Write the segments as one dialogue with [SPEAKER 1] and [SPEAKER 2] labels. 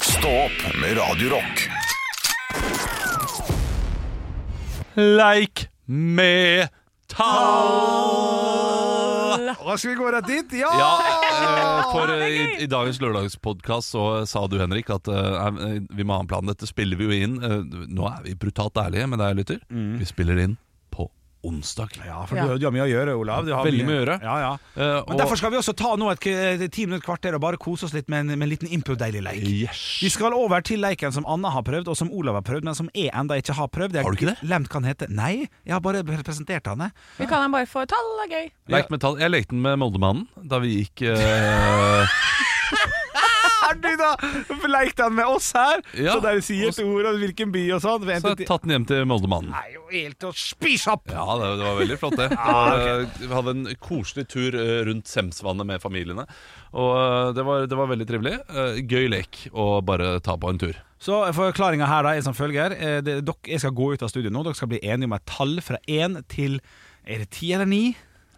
[SPEAKER 1] Stå opp med Radio Rock.
[SPEAKER 2] Leik med tall!
[SPEAKER 3] Da skal vi gå rett dit? Ja!
[SPEAKER 2] Ja, eh,
[SPEAKER 3] Ah,
[SPEAKER 2] for eh, i, i dagens lørdagspodkast så eh, sa du, Henrik, at eh, nei, vi må ha en plan. Dette spiller vi jo inn. eh, nå er vi brutalt ærlige med deg, lytter.
[SPEAKER 3] Mm.
[SPEAKER 2] Vi spiller inn på onsdag. Eh,
[SPEAKER 3] Ja, for
[SPEAKER 4] Ja.
[SPEAKER 3] Du, du har mye å gjøre, Olav. Du har
[SPEAKER 2] Veldig mye å gjøre.
[SPEAKER 3] Ja, ja.
[SPEAKER 2] Eh,
[SPEAKER 3] Men Derfor skal vi også ta nå et k- eh, ti minutter kvarter og bare kose oss litt med en, med en liten impro-deilig leik. Vi
[SPEAKER 2] yes.
[SPEAKER 3] skal over til leiken som Anna har prøvd, og som Olav har prøvd, men som jeg enda ikke har prøvd. Jeg
[SPEAKER 2] Har du ikke det?
[SPEAKER 3] Glemt hva han heter. Nei, jeg har bare presentert han. jeg.
[SPEAKER 4] Vi kaller den bare for tall er gøy.
[SPEAKER 2] Leik med tall. Jeg lekte den med Moldemannen da vi gikk eh,
[SPEAKER 3] Har du da leikt han med oss her?
[SPEAKER 2] Ja.
[SPEAKER 3] Så der de sier et ord om hvilken by og sånn.
[SPEAKER 2] Så har jeg tatt den hjem til Moldemannen.
[SPEAKER 3] er jo helt å spise opp!
[SPEAKER 2] Ja, det, det var veldig flott det. Eh, Vi hadde en koselig tur eh, rundt Semsvannet med familiene. Og eh, det var, det var veldig trivelig. Eh, Gøy lek å bare ta på en tur.
[SPEAKER 3] Så forklaringa her da er som følger. Eh, det, dere, jeg skal gå ut av studio nå. Dere skal bli enige om et tall fra én til Er det ti eller ni?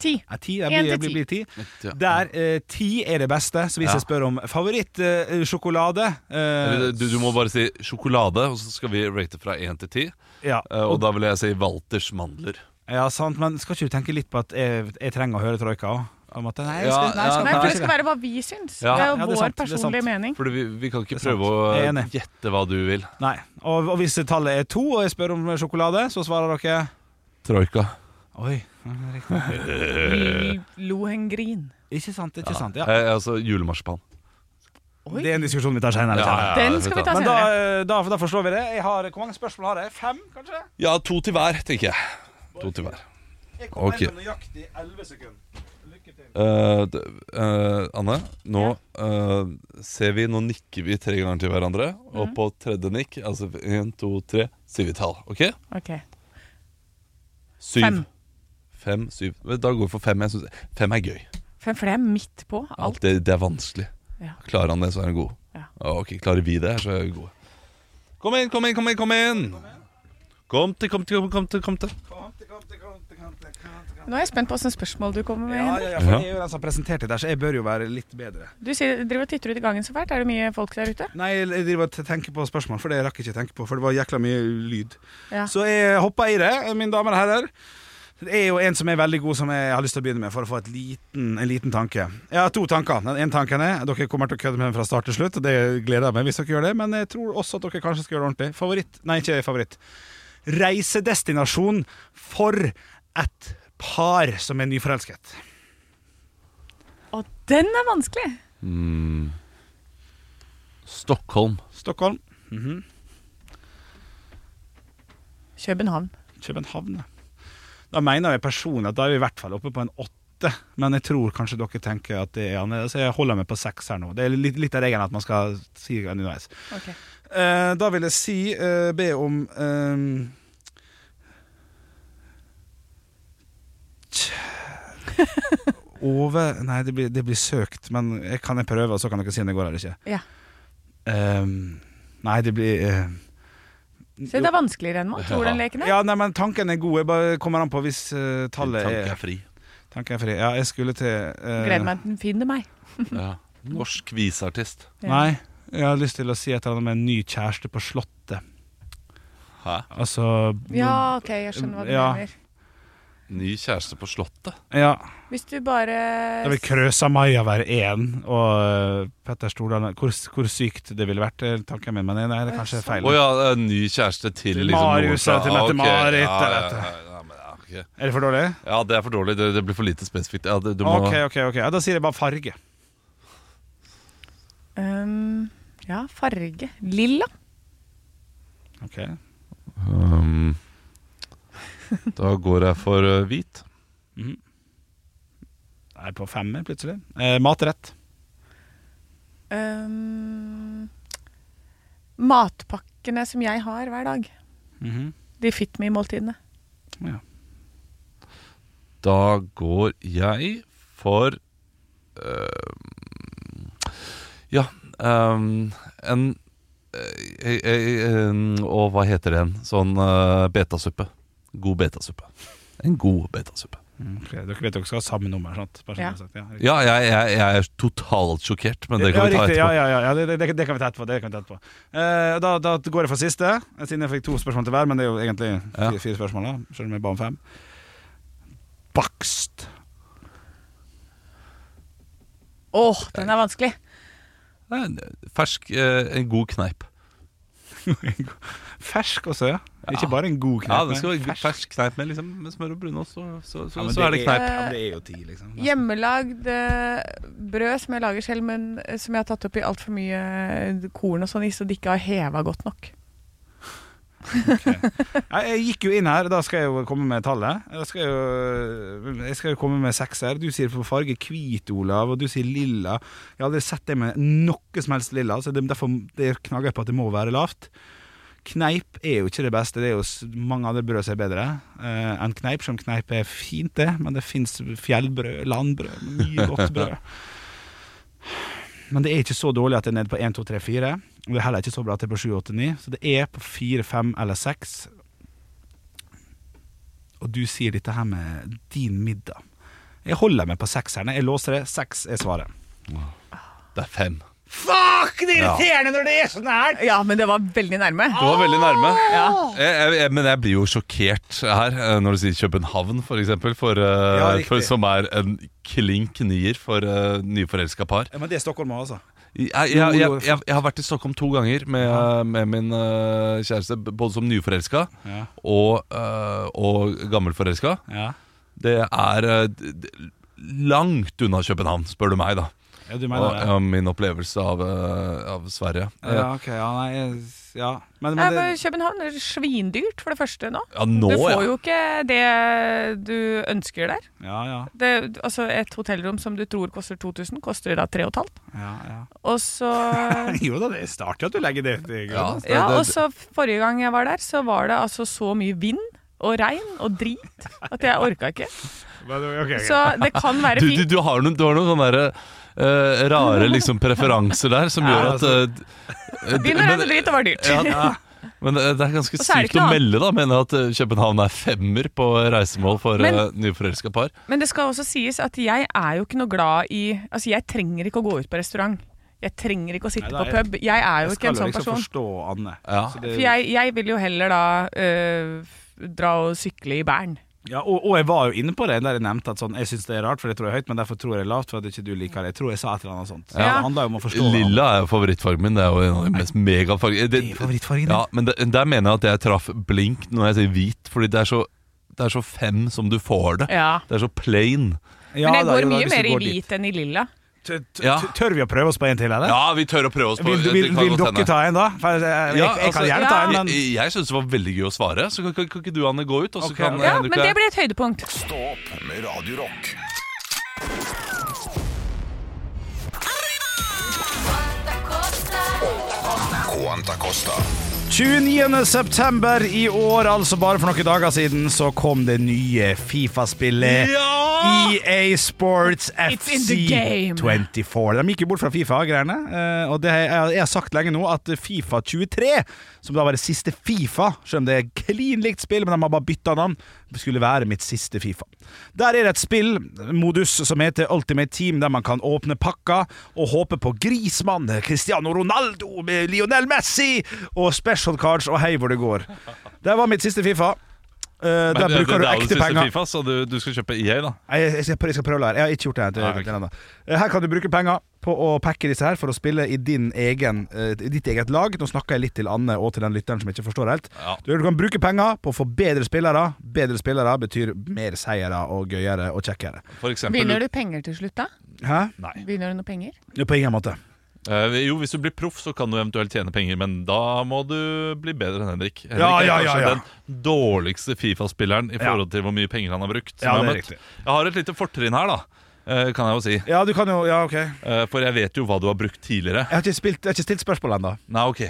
[SPEAKER 4] Ti.
[SPEAKER 3] Ja, ti, jeg blir,
[SPEAKER 4] En til
[SPEAKER 3] jeg blir,
[SPEAKER 4] ti.
[SPEAKER 3] blir ti.
[SPEAKER 2] Ja.
[SPEAKER 3] Der eh, ti er det beste. Så hvis
[SPEAKER 2] Ja.
[SPEAKER 3] jeg spør om favorittsjokolade eh,
[SPEAKER 2] Eller Du, du må bare si sjokolade, og så skal vi rate fra 1 til 10.
[SPEAKER 3] ja,
[SPEAKER 2] Eh, Og da vil jeg si Walters mandler.
[SPEAKER 3] ja, sant, men skal ikke du tenke litt på at jeg, jeg trenger å høre troika òg? Nei, jeg
[SPEAKER 2] Ja,
[SPEAKER 3] skal, nei, jeg skal,
[SPEAKER 4] Nei, for det
[SPEAKER 3] ikke
[SPEAKER 4] skal være hva vi syns.
[SPEAKER 2] Ja.
[SPEAKER 4] det er
[SPEAKER 3] Ja,
[SPEAKER 4] jo
[SPEAKER 3] det er sant, det
[SPEAKER 4] vår
[SPEAKER 3] er sant.
[SPEAKER 4] personlige mening.
[SPEAKER 2] For vi, vi kan ikke
[SPEAKER 3] Det er sant.
[SPEAKER 2] prøve å
[SPEAKER 3] Jeg er
[SPEAKER 2] eh,
[SPEAKER 3] enig.
[SPEAKER 2] gjette hva du vil.
[SPEAKER 3] Nei. Og, og hvis tallet er to, og jeg spør om sjokolade, så svarer dere
[SPEAKER 2] Troika.
[SPEAKER 3] Oi. ja, det er riktig.
[SPEAKER 4] Vi lo en grin.
[SPEAKER 3] Ikke sant, ikke sant. Ja.
[SPEAKER 2] Eh, altså julemarsipan.
[SPEAKER 4] Oi.
[SPEAKER 3] Det er en diskusjon vi tar senere.
[SPEAKER 2] Eh, Ja,
[SPEAKER 3] senere.
[SPEAKER 2] ja,
[SPEAKER 4] Den
[SPEAKER 2] det
[SPEAKER 4] skal
[SPEAKER 2] får
[SPEAKER 4] vi ta
[SPEAKER 3] Men da,
[SPEAKER 4] senere.
[SPEAKER 3] eh, da, da forstår vi det. Jeg har, hvor mange spørsmål har jeg? Fem, kanskje?
[SPEAKER 2] Ja, to til hver, tenker jeg. To til hver.
[SPEAKER 3] Jeg
[SPEAKER 2] kommer Ok. hjem
[SPEAKER 3] om nøyaktig elleve sekunder. Lykke til.
[SPEAKER 2] Eh, d- eh, Anne, nå eh, ser vi Nå nikker vi tre ganger til hverandre. Og
[SPEAKER 4] Mhm.
[SPEAKER 2] på tredje nikk, altså én, to, tre, sier vi tall. OK?
[SPEAKER 4] Ok.
[SPEAKER 2] Syv.
[SPEAKER 4] Fem.
[SPEAKER 2] Fem, syv. Vet du, Da går vi for fem. Jeg synes, fem er gøy.
[SPEAKER 4] Fem, for det er midt på alt.
[SPEAKER 2] Det, det er vanskelig.
[SPEAKER 4] Ja.
[SPEAKER 2] Klarer han det, så er han god.
[SPEAKER 4] Ja.
[SPEAKER 2] Ok, Klarer vi det, så er vi gode. Kom inn, kom inn, kom inn! Kom inn Kom til, kom til, kom til, kom til, kom til.
[SPEAKER 4] Nå er jeg spent på åssen spørsmål du kommer med.
[SPEAKER 3] Ja,
[SPEAKER 4] Henrik.
[SPEAKER 3] ja, ja, for
[SPEAKER 2] Ja.
[SPEAKER 3] jeg er jo den som har presentert det der, så jeg bør jo være litt bedre.
[SPEAKER 4] Du sier, driver og titter ut i gangen så fælt. Er det mye folk der ute?
[SPEAKER 3] Nei, jeg driver og t- tenker på spørsmål, for det rakk jeg ikke tenke på, for det var jækla mye lyd.
[SPEAKER 4] Ja.
[SPEAKER 3] Så jeg hoppa i det, mine damer og herrer. Det er jo en som er veldig god, som jeg har lyst til å begynne med, for å få et liten, en liten tanke. Jeg har to tanker. Den ene tanken er Dere kommer til å kødde med den fra start til slutt, og det gleder jeg meg hvis dere gjør det, men jeg tror også at dere kanskje skal gjøre det ordentlig. Favoritt Nei, ikke favoritt. Reisedestinasjon for et par som er nyforelsket.
[SPEAKER 4] Og den er vanskelig!
[SPEAKER 2] Stockholm.
[SPEAKER 3] Stockholm.
[SPEAKER 4] København.
[SPEAKER 3] København. ja. Da mener jeg personlig at da er vi i hvert fall oppe på en åtte. Men jeg tror kanskje dere tenker at det er annerledes. Jeg holder meg på seks her nå. Det er litt, litt av regelen at man skal si det underveis.
[SPEAKER 4] Ok.
[SPEAKER 3] Eh, da vil jeg si eh, be om ehm, tj- Over Nei, det blir, det blir søkt, men jeg kan jeg prøve, og så kan dere si om det går eller ikke.
[SPEAKER 4] Ja.
[SPEAKER 3] Ehm, nei, det blir eh,
[SPEAKER 4] Se, det er vanskeligere enn man tror, den leken her.
[SPEAKER 3] ja, nei, men tanken er god. Jeg bare kommer an på hvis eh, tallet
[SPEAKER 2] Tanken
[SPEAKER 3] er
[SPEAKER 2] er fri.
[SPEAKER 3] Tanken er fri. Ja, jeg skulle til eh,
[SPEAKER 4] Gleder meg til den finner meg.
[SPEAKER 2] Ja. Norsk viseartist.
[SPEAKER 4] Ja.
[SPEAKER 3] Nei, jeg har lyst til å si et eller annet med en ny kjæreste på Slottet.
[SPEAKER 2] Hæ?
[SPEAKER 3] Altså
[SPEAKER 4] Ja, OK, jeg skjønner hva du
[SPEAKER 3] Ja.
[SPEAKER 4] mener.
[SPEAKER 2] Ny kjæreste på Slottet.
[SPEAKER 3] ja.
[SPEAKER 4] Hvis du bare
[SPEAKER 3] Da vil Krøsa-Maja være én, og eh, Petter Stordalen hvor, hvor sykt det ville vært, er tanken min. Men nei, det er kanskje
[SPEAKER 2] Å
[SPEAKER 3] feil.
[SPEAKER 2] ja, det er en ny kjæreste til
[SPEAKER 3] Til
[SPEAKER 2] liksom,
[SPEAKER 3] Marius,
[SPEAKER 2] Nordstrand.
[SPEAKER 3] til Mette
[SPEAKER 2] Ah, ok. Ja,
[SPEAKER 3] Marit, jeg
[SPEAKER 2] ja,
[SPEAKER 3] vet det.
[SPEAKER 2] ja, ja, men ja, ok.
[SPEAKER 3] Er det for dårlig?
[SPEAKER 2] ja, det er for dårlig. Det, det blir for lite spesifikt. Ja, det, du må...
[SPEAKER 3] OK, OK. ok ja, Da sier jeg bare farge.
[SPEAKER 4] Øhm, Ja, farge. Lilla.
[SPEAKER 3] Ok
[SPEAKER 2] Um, da går jeg for eh, hvit.
[SPEAKER 3] Jeg er på femmer, plutselig. Eh, matrett.
[SPEAKER 4] Øhm, Ehm, matpakkene som jeg har hver dag. De fit me-måltidene.
[SPEAKER 3] Mhm. ja.
[SPEAKER 2] Da går jeg for um, Ja, um, en eh, eh, eh, uh, Og hva heter det igjen? Sånn eh, betasuppe. God betasuppe. En god betasuppe.
[SPEAKER 3] Mm, Ok, Dere vet dere skal ha samme nummer, sant? Bare sånn
[SPEAKER 4] Ja.
[SPEAKER 3] jeg har sagt, ja, riktig.
[SPEAKER 2] Ja, jeg, jeg, jeg er totalt sjokkert, men det kan
[SPEAKER 3] ja,
[SPEAKER 2] vi ta
[SPEAKER 3] riktig,
[SPEAKER 2] etterpå.
[SPEAKER 3] Ja, ja, ja, ja det, det, det kan vi ta etterpå. Det kan vi ta etterpå. Eh, da, da går jeg for siste, siden jeg fikk to spørsmål til hver. Men det er jo egentlig
[SPEAKER 2] Ja.
[SPEAKER 3] fire, fire spørsmål, da, selv om jeg ba om fem. Bakst.
[SPEAKER 4] Åh, den er vanskelig.
[SPEAKER 2] Det er en Fersk, eh, en god kneip.
[SPEAKER 3] Fersk også, ja. Ikke bare en god kneip.
[SPEAKER 2] Ja, det skal
[SPEAKER 3] men
[SPEAKER 2] være fersk kneip med, liksom, med smør og brunost, så, så, så,
[SPEAKER 3] Ja, men
[SPEAKER 2] så er det kneip.
[SPEAKER 3] Ja, men det er jo ti, liksom.
[SPEAKER 4] Hjemmelagd eh, brød som jeg lager selv, men eh, som jeg har tatt opp i altfor mye eh, korn og sånn i, så det ikke har heva godt nok.
[SPEAKER 3] Nei, Jeg gikk jo inn her, da skal jeg jo komme med tallet. Da skal jeg, jo, jeg skal jo komme med sekser. Du sier for farge hvit, Olav, og du sier lilla. Jeg har aldri sett det med noe som helst lilla, så det, derfor det knager jeg på at det må være lavt. Kneip er jo ikke det beste, det er jo s- mange andre brød som er bedre eh, enn kneip. Som kneip er fint, det, men det fins fjellbrød, landbrød, mye godt brød. Men det er ikke så dårlig at det er nede på 1, 2, 3, 4. Og det er heller ikke så bra at det er på 7, 8, 9. Så det er på 4, 5 eller 6. Og du sier dette her med din middag. Jeg holder meg på sekserne. Jeg låser det. Seks er svaret.
[SPEAKER 2] Det er fem.
[SPEAKER 3] Fuck! Det er irriterende når det er så nært!
[SPEAKER 4] Ja, men det var veldig nærme.
[SPEAKER 2] Det var veldig nærme. Jeg, jeg, jeg, men jeg blir jo sjokkert her eh, når du sier København, for eksempel, for, eh,
[SPEAKER 3] Ja, riktig.
[SPEAKER 2] for, som er en klink nier for uh, nyforelska par.
[SPEAKER 3] Men det er Stockholm òg, altså.
[SPEAKER 2] Jeg, jeg, jeg, jeg, jeg har vært i Stockholm to ganger med, med min eh, kjæreste, b- både som nyforelska
[SPEAKER 3] Ja.
[SPEAKER 2] og, uh, og gammelforelska.
[SPEAKER 3] Ja.
[SPEAKER 2] Det er eh, d- d- langt unna København, spør du meg, da.
[SPEAKER 3] ja, du
[SPEAKER 2] Og,
[SPEAKER 3] mener det?
[SPEAKER 2] ja, min opplevelse av, eh, av Sverige. Eh,
[SPEAKER 3] Ja, ok, ja, nei, jeg- ja. Men,
[SPEAKER 4] Nei,
[SPEAKER 3] men
[SPEAKER 4] men
[SPEAKER 3] det,
[SPEAKER 4] København er svindyrt, for det første, nå.
[SPEAKER 2] Ja, nå,
[SPEAKER 4] du får
[SPEAKER 2] ja.
[SPEAKER 4] jo ikke det du ønsker der.
[SPEAKER 3] ja, ja,
[SPEAKER 4] Det, altså Et hotellrom som du tror koster 2000, koster da 3500.
[SPEAKER 3] ja, ja.
[SPEAKER 4] Og så
[SPEAKER 3] Jo da, det starter jo at du legger det til grunn.
[SPEAKER 2] det-
[SPEAKER 4] Ja,
[SPEAKER 2] det-
[SPEAKER 4] og så forrige gang jeg var der, så var det altså så mye vind og regn og drit at jeg orka ikke.
[SPEAKER 3] Men, ok, ok.
[SPEAKER 4] Så det kan være
[SPEAKER 2] du, du,
[SPEAKER 4] fint.
[SPEAKER 2] du har noen, du har noen sånne der, eh, rare liksom, preferanser der som gjør
[SPEAKER 3] Ja, altså.
[SPEAKER 2] at eh, d-
[SPEAKER 4] Vind og regn og
[SPEAKER 2] men,
[SPEAKER 4] drit, det var dyrt.
[SPEAKER 2] ja, Men eh, det er ganske
[SPEAKER 4] Og så er det
[SPEAKER 2] sykt
[SPEAKER 4] ikke
[SPEAKER 2] å
[SPEAKER 4] noe
[SPEAKER 2] melde da mener jeg at eh, København er femmer på reisemål for
[SPEAKER 4] Men-
[SPEAKER 2] uh, nyforelska par.
[SPEAKER 4] Men det skal også sies at jeg er jo ikke noe glad i Altså, jeg trenger ikke å gå ut på restaurant. Jeg trenger ikke å sitte
[SPEAKER 3] Nei,
[SPEAKER 4] på
[SPEAKER 3] da er-
[SPEAKER 4] pub. Jeg er jo
[SPEAKER 3] Jeg
[SPEAKER 4] ikke
[SPEAKER 3] skal
[SPEAKER 4] en
[SPEAKER 3] jo liksom
[SPEAKER 4] sånn person.
[SPEAKER 3] forstå Anne.
[SPEAKER 2] Ja.
[SPEAKER 3] Så
[SPEAKER 4] For
[SPEAKER 3] det,
[SPEAKER 4] jeg, jeg vil jo heller da øh, dra og sykle i Bern.
[SPEAKER 3] ja, og, og jeg var jo inne på det der jeg nevnte at sånn, jeg syns det er rart, for det tror jeg er høyt, men derfor tror jeg det er lavt, for at ikke du liker det. Jeg tror jeg sa et eller annet sånt. Så
[SPEAKER 4] Ja.
[SPEAKER 3] Det handler jo om å forstå hverandre.
[SPEAKER 2] Lilla er jo favorittfargen min. Det er jo en av de mest megafargene.
[SPEAKER 3] Det er favorittfargen din.
[SPEAKER 2] Ja, men det, der mener jeg at jeg traff blink når jeg sier hvit, fordi det er så, det er så fem som du får det.
[SPEAKER 4] Ja.
[SPEAKER 2] Det er så plain.
[SPEAKER 3] Ja,
[SPEAKER 4] Men jeg
[SPEAKER 3] da,
[SPEAKER 4] går
[SPEAKER 3] jo da,
[SPEAKER 4] mye
[SPEAKER 3] hvis du
[SPEAKER 4] mer i
[SPEAKER 3] går dit.
[SPEAKER 4] hvit enn i lilla.
[SPEAKER 3] Tør, tør,
[SPEAKER 2] Ja.
[SPEAKER 3] tør vi å prøve oss på en til, eller?
[SPEAKER 2] Ja, vi tør å prøve oss på
[SPEAKER 3] Vil,
[SPEAKER 2] det
[SPEAKER 3] vil,
[SPEAKER 2] kan
[SPEAKER 3] vil
[SPEAKER 2] godt
[SPEAKER 3] dere
[SPEAKER 2] hende.
[SPEAKER 3] ta en, da? For jeg, jeg,
[SPEAKER 2] Ja,
[SPEAKER 3] jeg, jeg
[SPEAKER 2] altså,
[SPEAKER 3] kan gjerne
[SPEAKER 4] ja.
[SPEAKER 3] ta en, men
[SPEAKER 2] Jeg, jeg syns det var veldig gøy å svare. Så kan, kan, kan ikke du, Anne, gå ut? Og så
[SPEAKER 3] Ok,
[SPEAKER 2] kan
[SPEAKER 3] ok.
[SPEAKER 4] Ja,
[SPEAKER 2] Henrik
[SPEAKER 4] men
[SPEAKER 2] og
[SPEAKER 4] det
[SPEAKER 2] jeg-
[SPEAKER 4] blir et høydepunkt.
[SPEAKER 1] Stå opp med Radio Rock. Quanta Costa.
[SPEAKER 3] 29. september i år, altså bare for noen dager siden, så kom det nye Fifa-spillet
[SPEAKER 2] Ja!
[SPEAKER 3] EA E Sports
[SPEAKER 4] It's in the game.
[SPEAKER 3] FC24. De gikk jo bort fra Fifa-greiene, eh, og det, jeg, jeg har sagt lenge nå at Fifa 23, som da var det siste Fifa, selv om det er klin likt spill, men de har bare bytta navn, skulle være mitt siste Fifa. Der er det et spill, modus, som heter Ultimate Team, der man kan åpne pakka og håpe på Grismann, Cristiano Ronaldo, med Lionel Messi og special cards og hei hvor det går. Det var mitt siste Fifa. Eh,
[SPEAKER 2] Men
[SPEAKER 3] der
[SPEAKER 2] det-
[SPEAKER 3] bruker
[SPEAKER 2] det
[SPEAKER 3] du
[SPEAKER 2] er jo
[SPEAKER 3] ekte
[SPEAKER 2] siste
[SPEAKER 3] penger.
[SPEAKER 2] FIFA, så du, du skal kjøpe EA, da.
[SPEAKER 3] Nei, Jeg, jeg, skal prøve, jeg skal prøve det her. Jeg har ikke gjort det. Til,
[SPEAKER 2] Nei, ok.
[SPEAKER 3] til ennå. Eh, Her kan du bruke penger på å pakke disse her for å spille i din egen, eh, ditt eget lag. Nå snakker jeg litt til Anne og til den lytteren som ikke forstår helt.
[SPEAKER 2] Ja.
[SPEAKER 3] Du, du kan bruke penger på å få bedre spillere. Bedre spillere betyr mer seire og gøyere og kjekkere.
[SPEAKER 2] For eksempel
[SPEAKER 4] Vinner du penger til slutt, da?
[SPEAKER 3] Hæ?
[SPEAKER 2] Nei.
[SPEAKER 4] Vinner du noe penger?
[SPEAKER 3] Jo, På ingen måte.
[SPEAKER 2] Eh, jo, hvis du blir proff, så kan du eventuelt tjene penger, men da må du bli bedre enn Henrik. Henrik
[SPEAKER 3] Ja, ja,
[SPEAKER 2] er
[SPEAKER 3] ja,
[SPEAKER 2] kanskje
[SPEAKER 3] ja.
[SPEAKER 2] den dårligste Fifa-spilleren i forhold til hvor mye penger han har brukt. som
[SPEAKER 3] Ja,
[SPEAKER 2] jeg, har
[SPEAKER 3] det er
[SPEAKER 2] møtt. jeg har et lite fortrinn her, da. eh, Kan jeg jo si.
[SPEAKER 3] Ja, du kan jo Ja, OK. Jeg
[SPEAKER 2] Eh, For jeg vet jo hva du har brukt tidligere.
[SPEAKER 3] har ikke, spilt, jeg har ikke stilt spørsmål ennå.
[SPEAKER 2] Nei, ok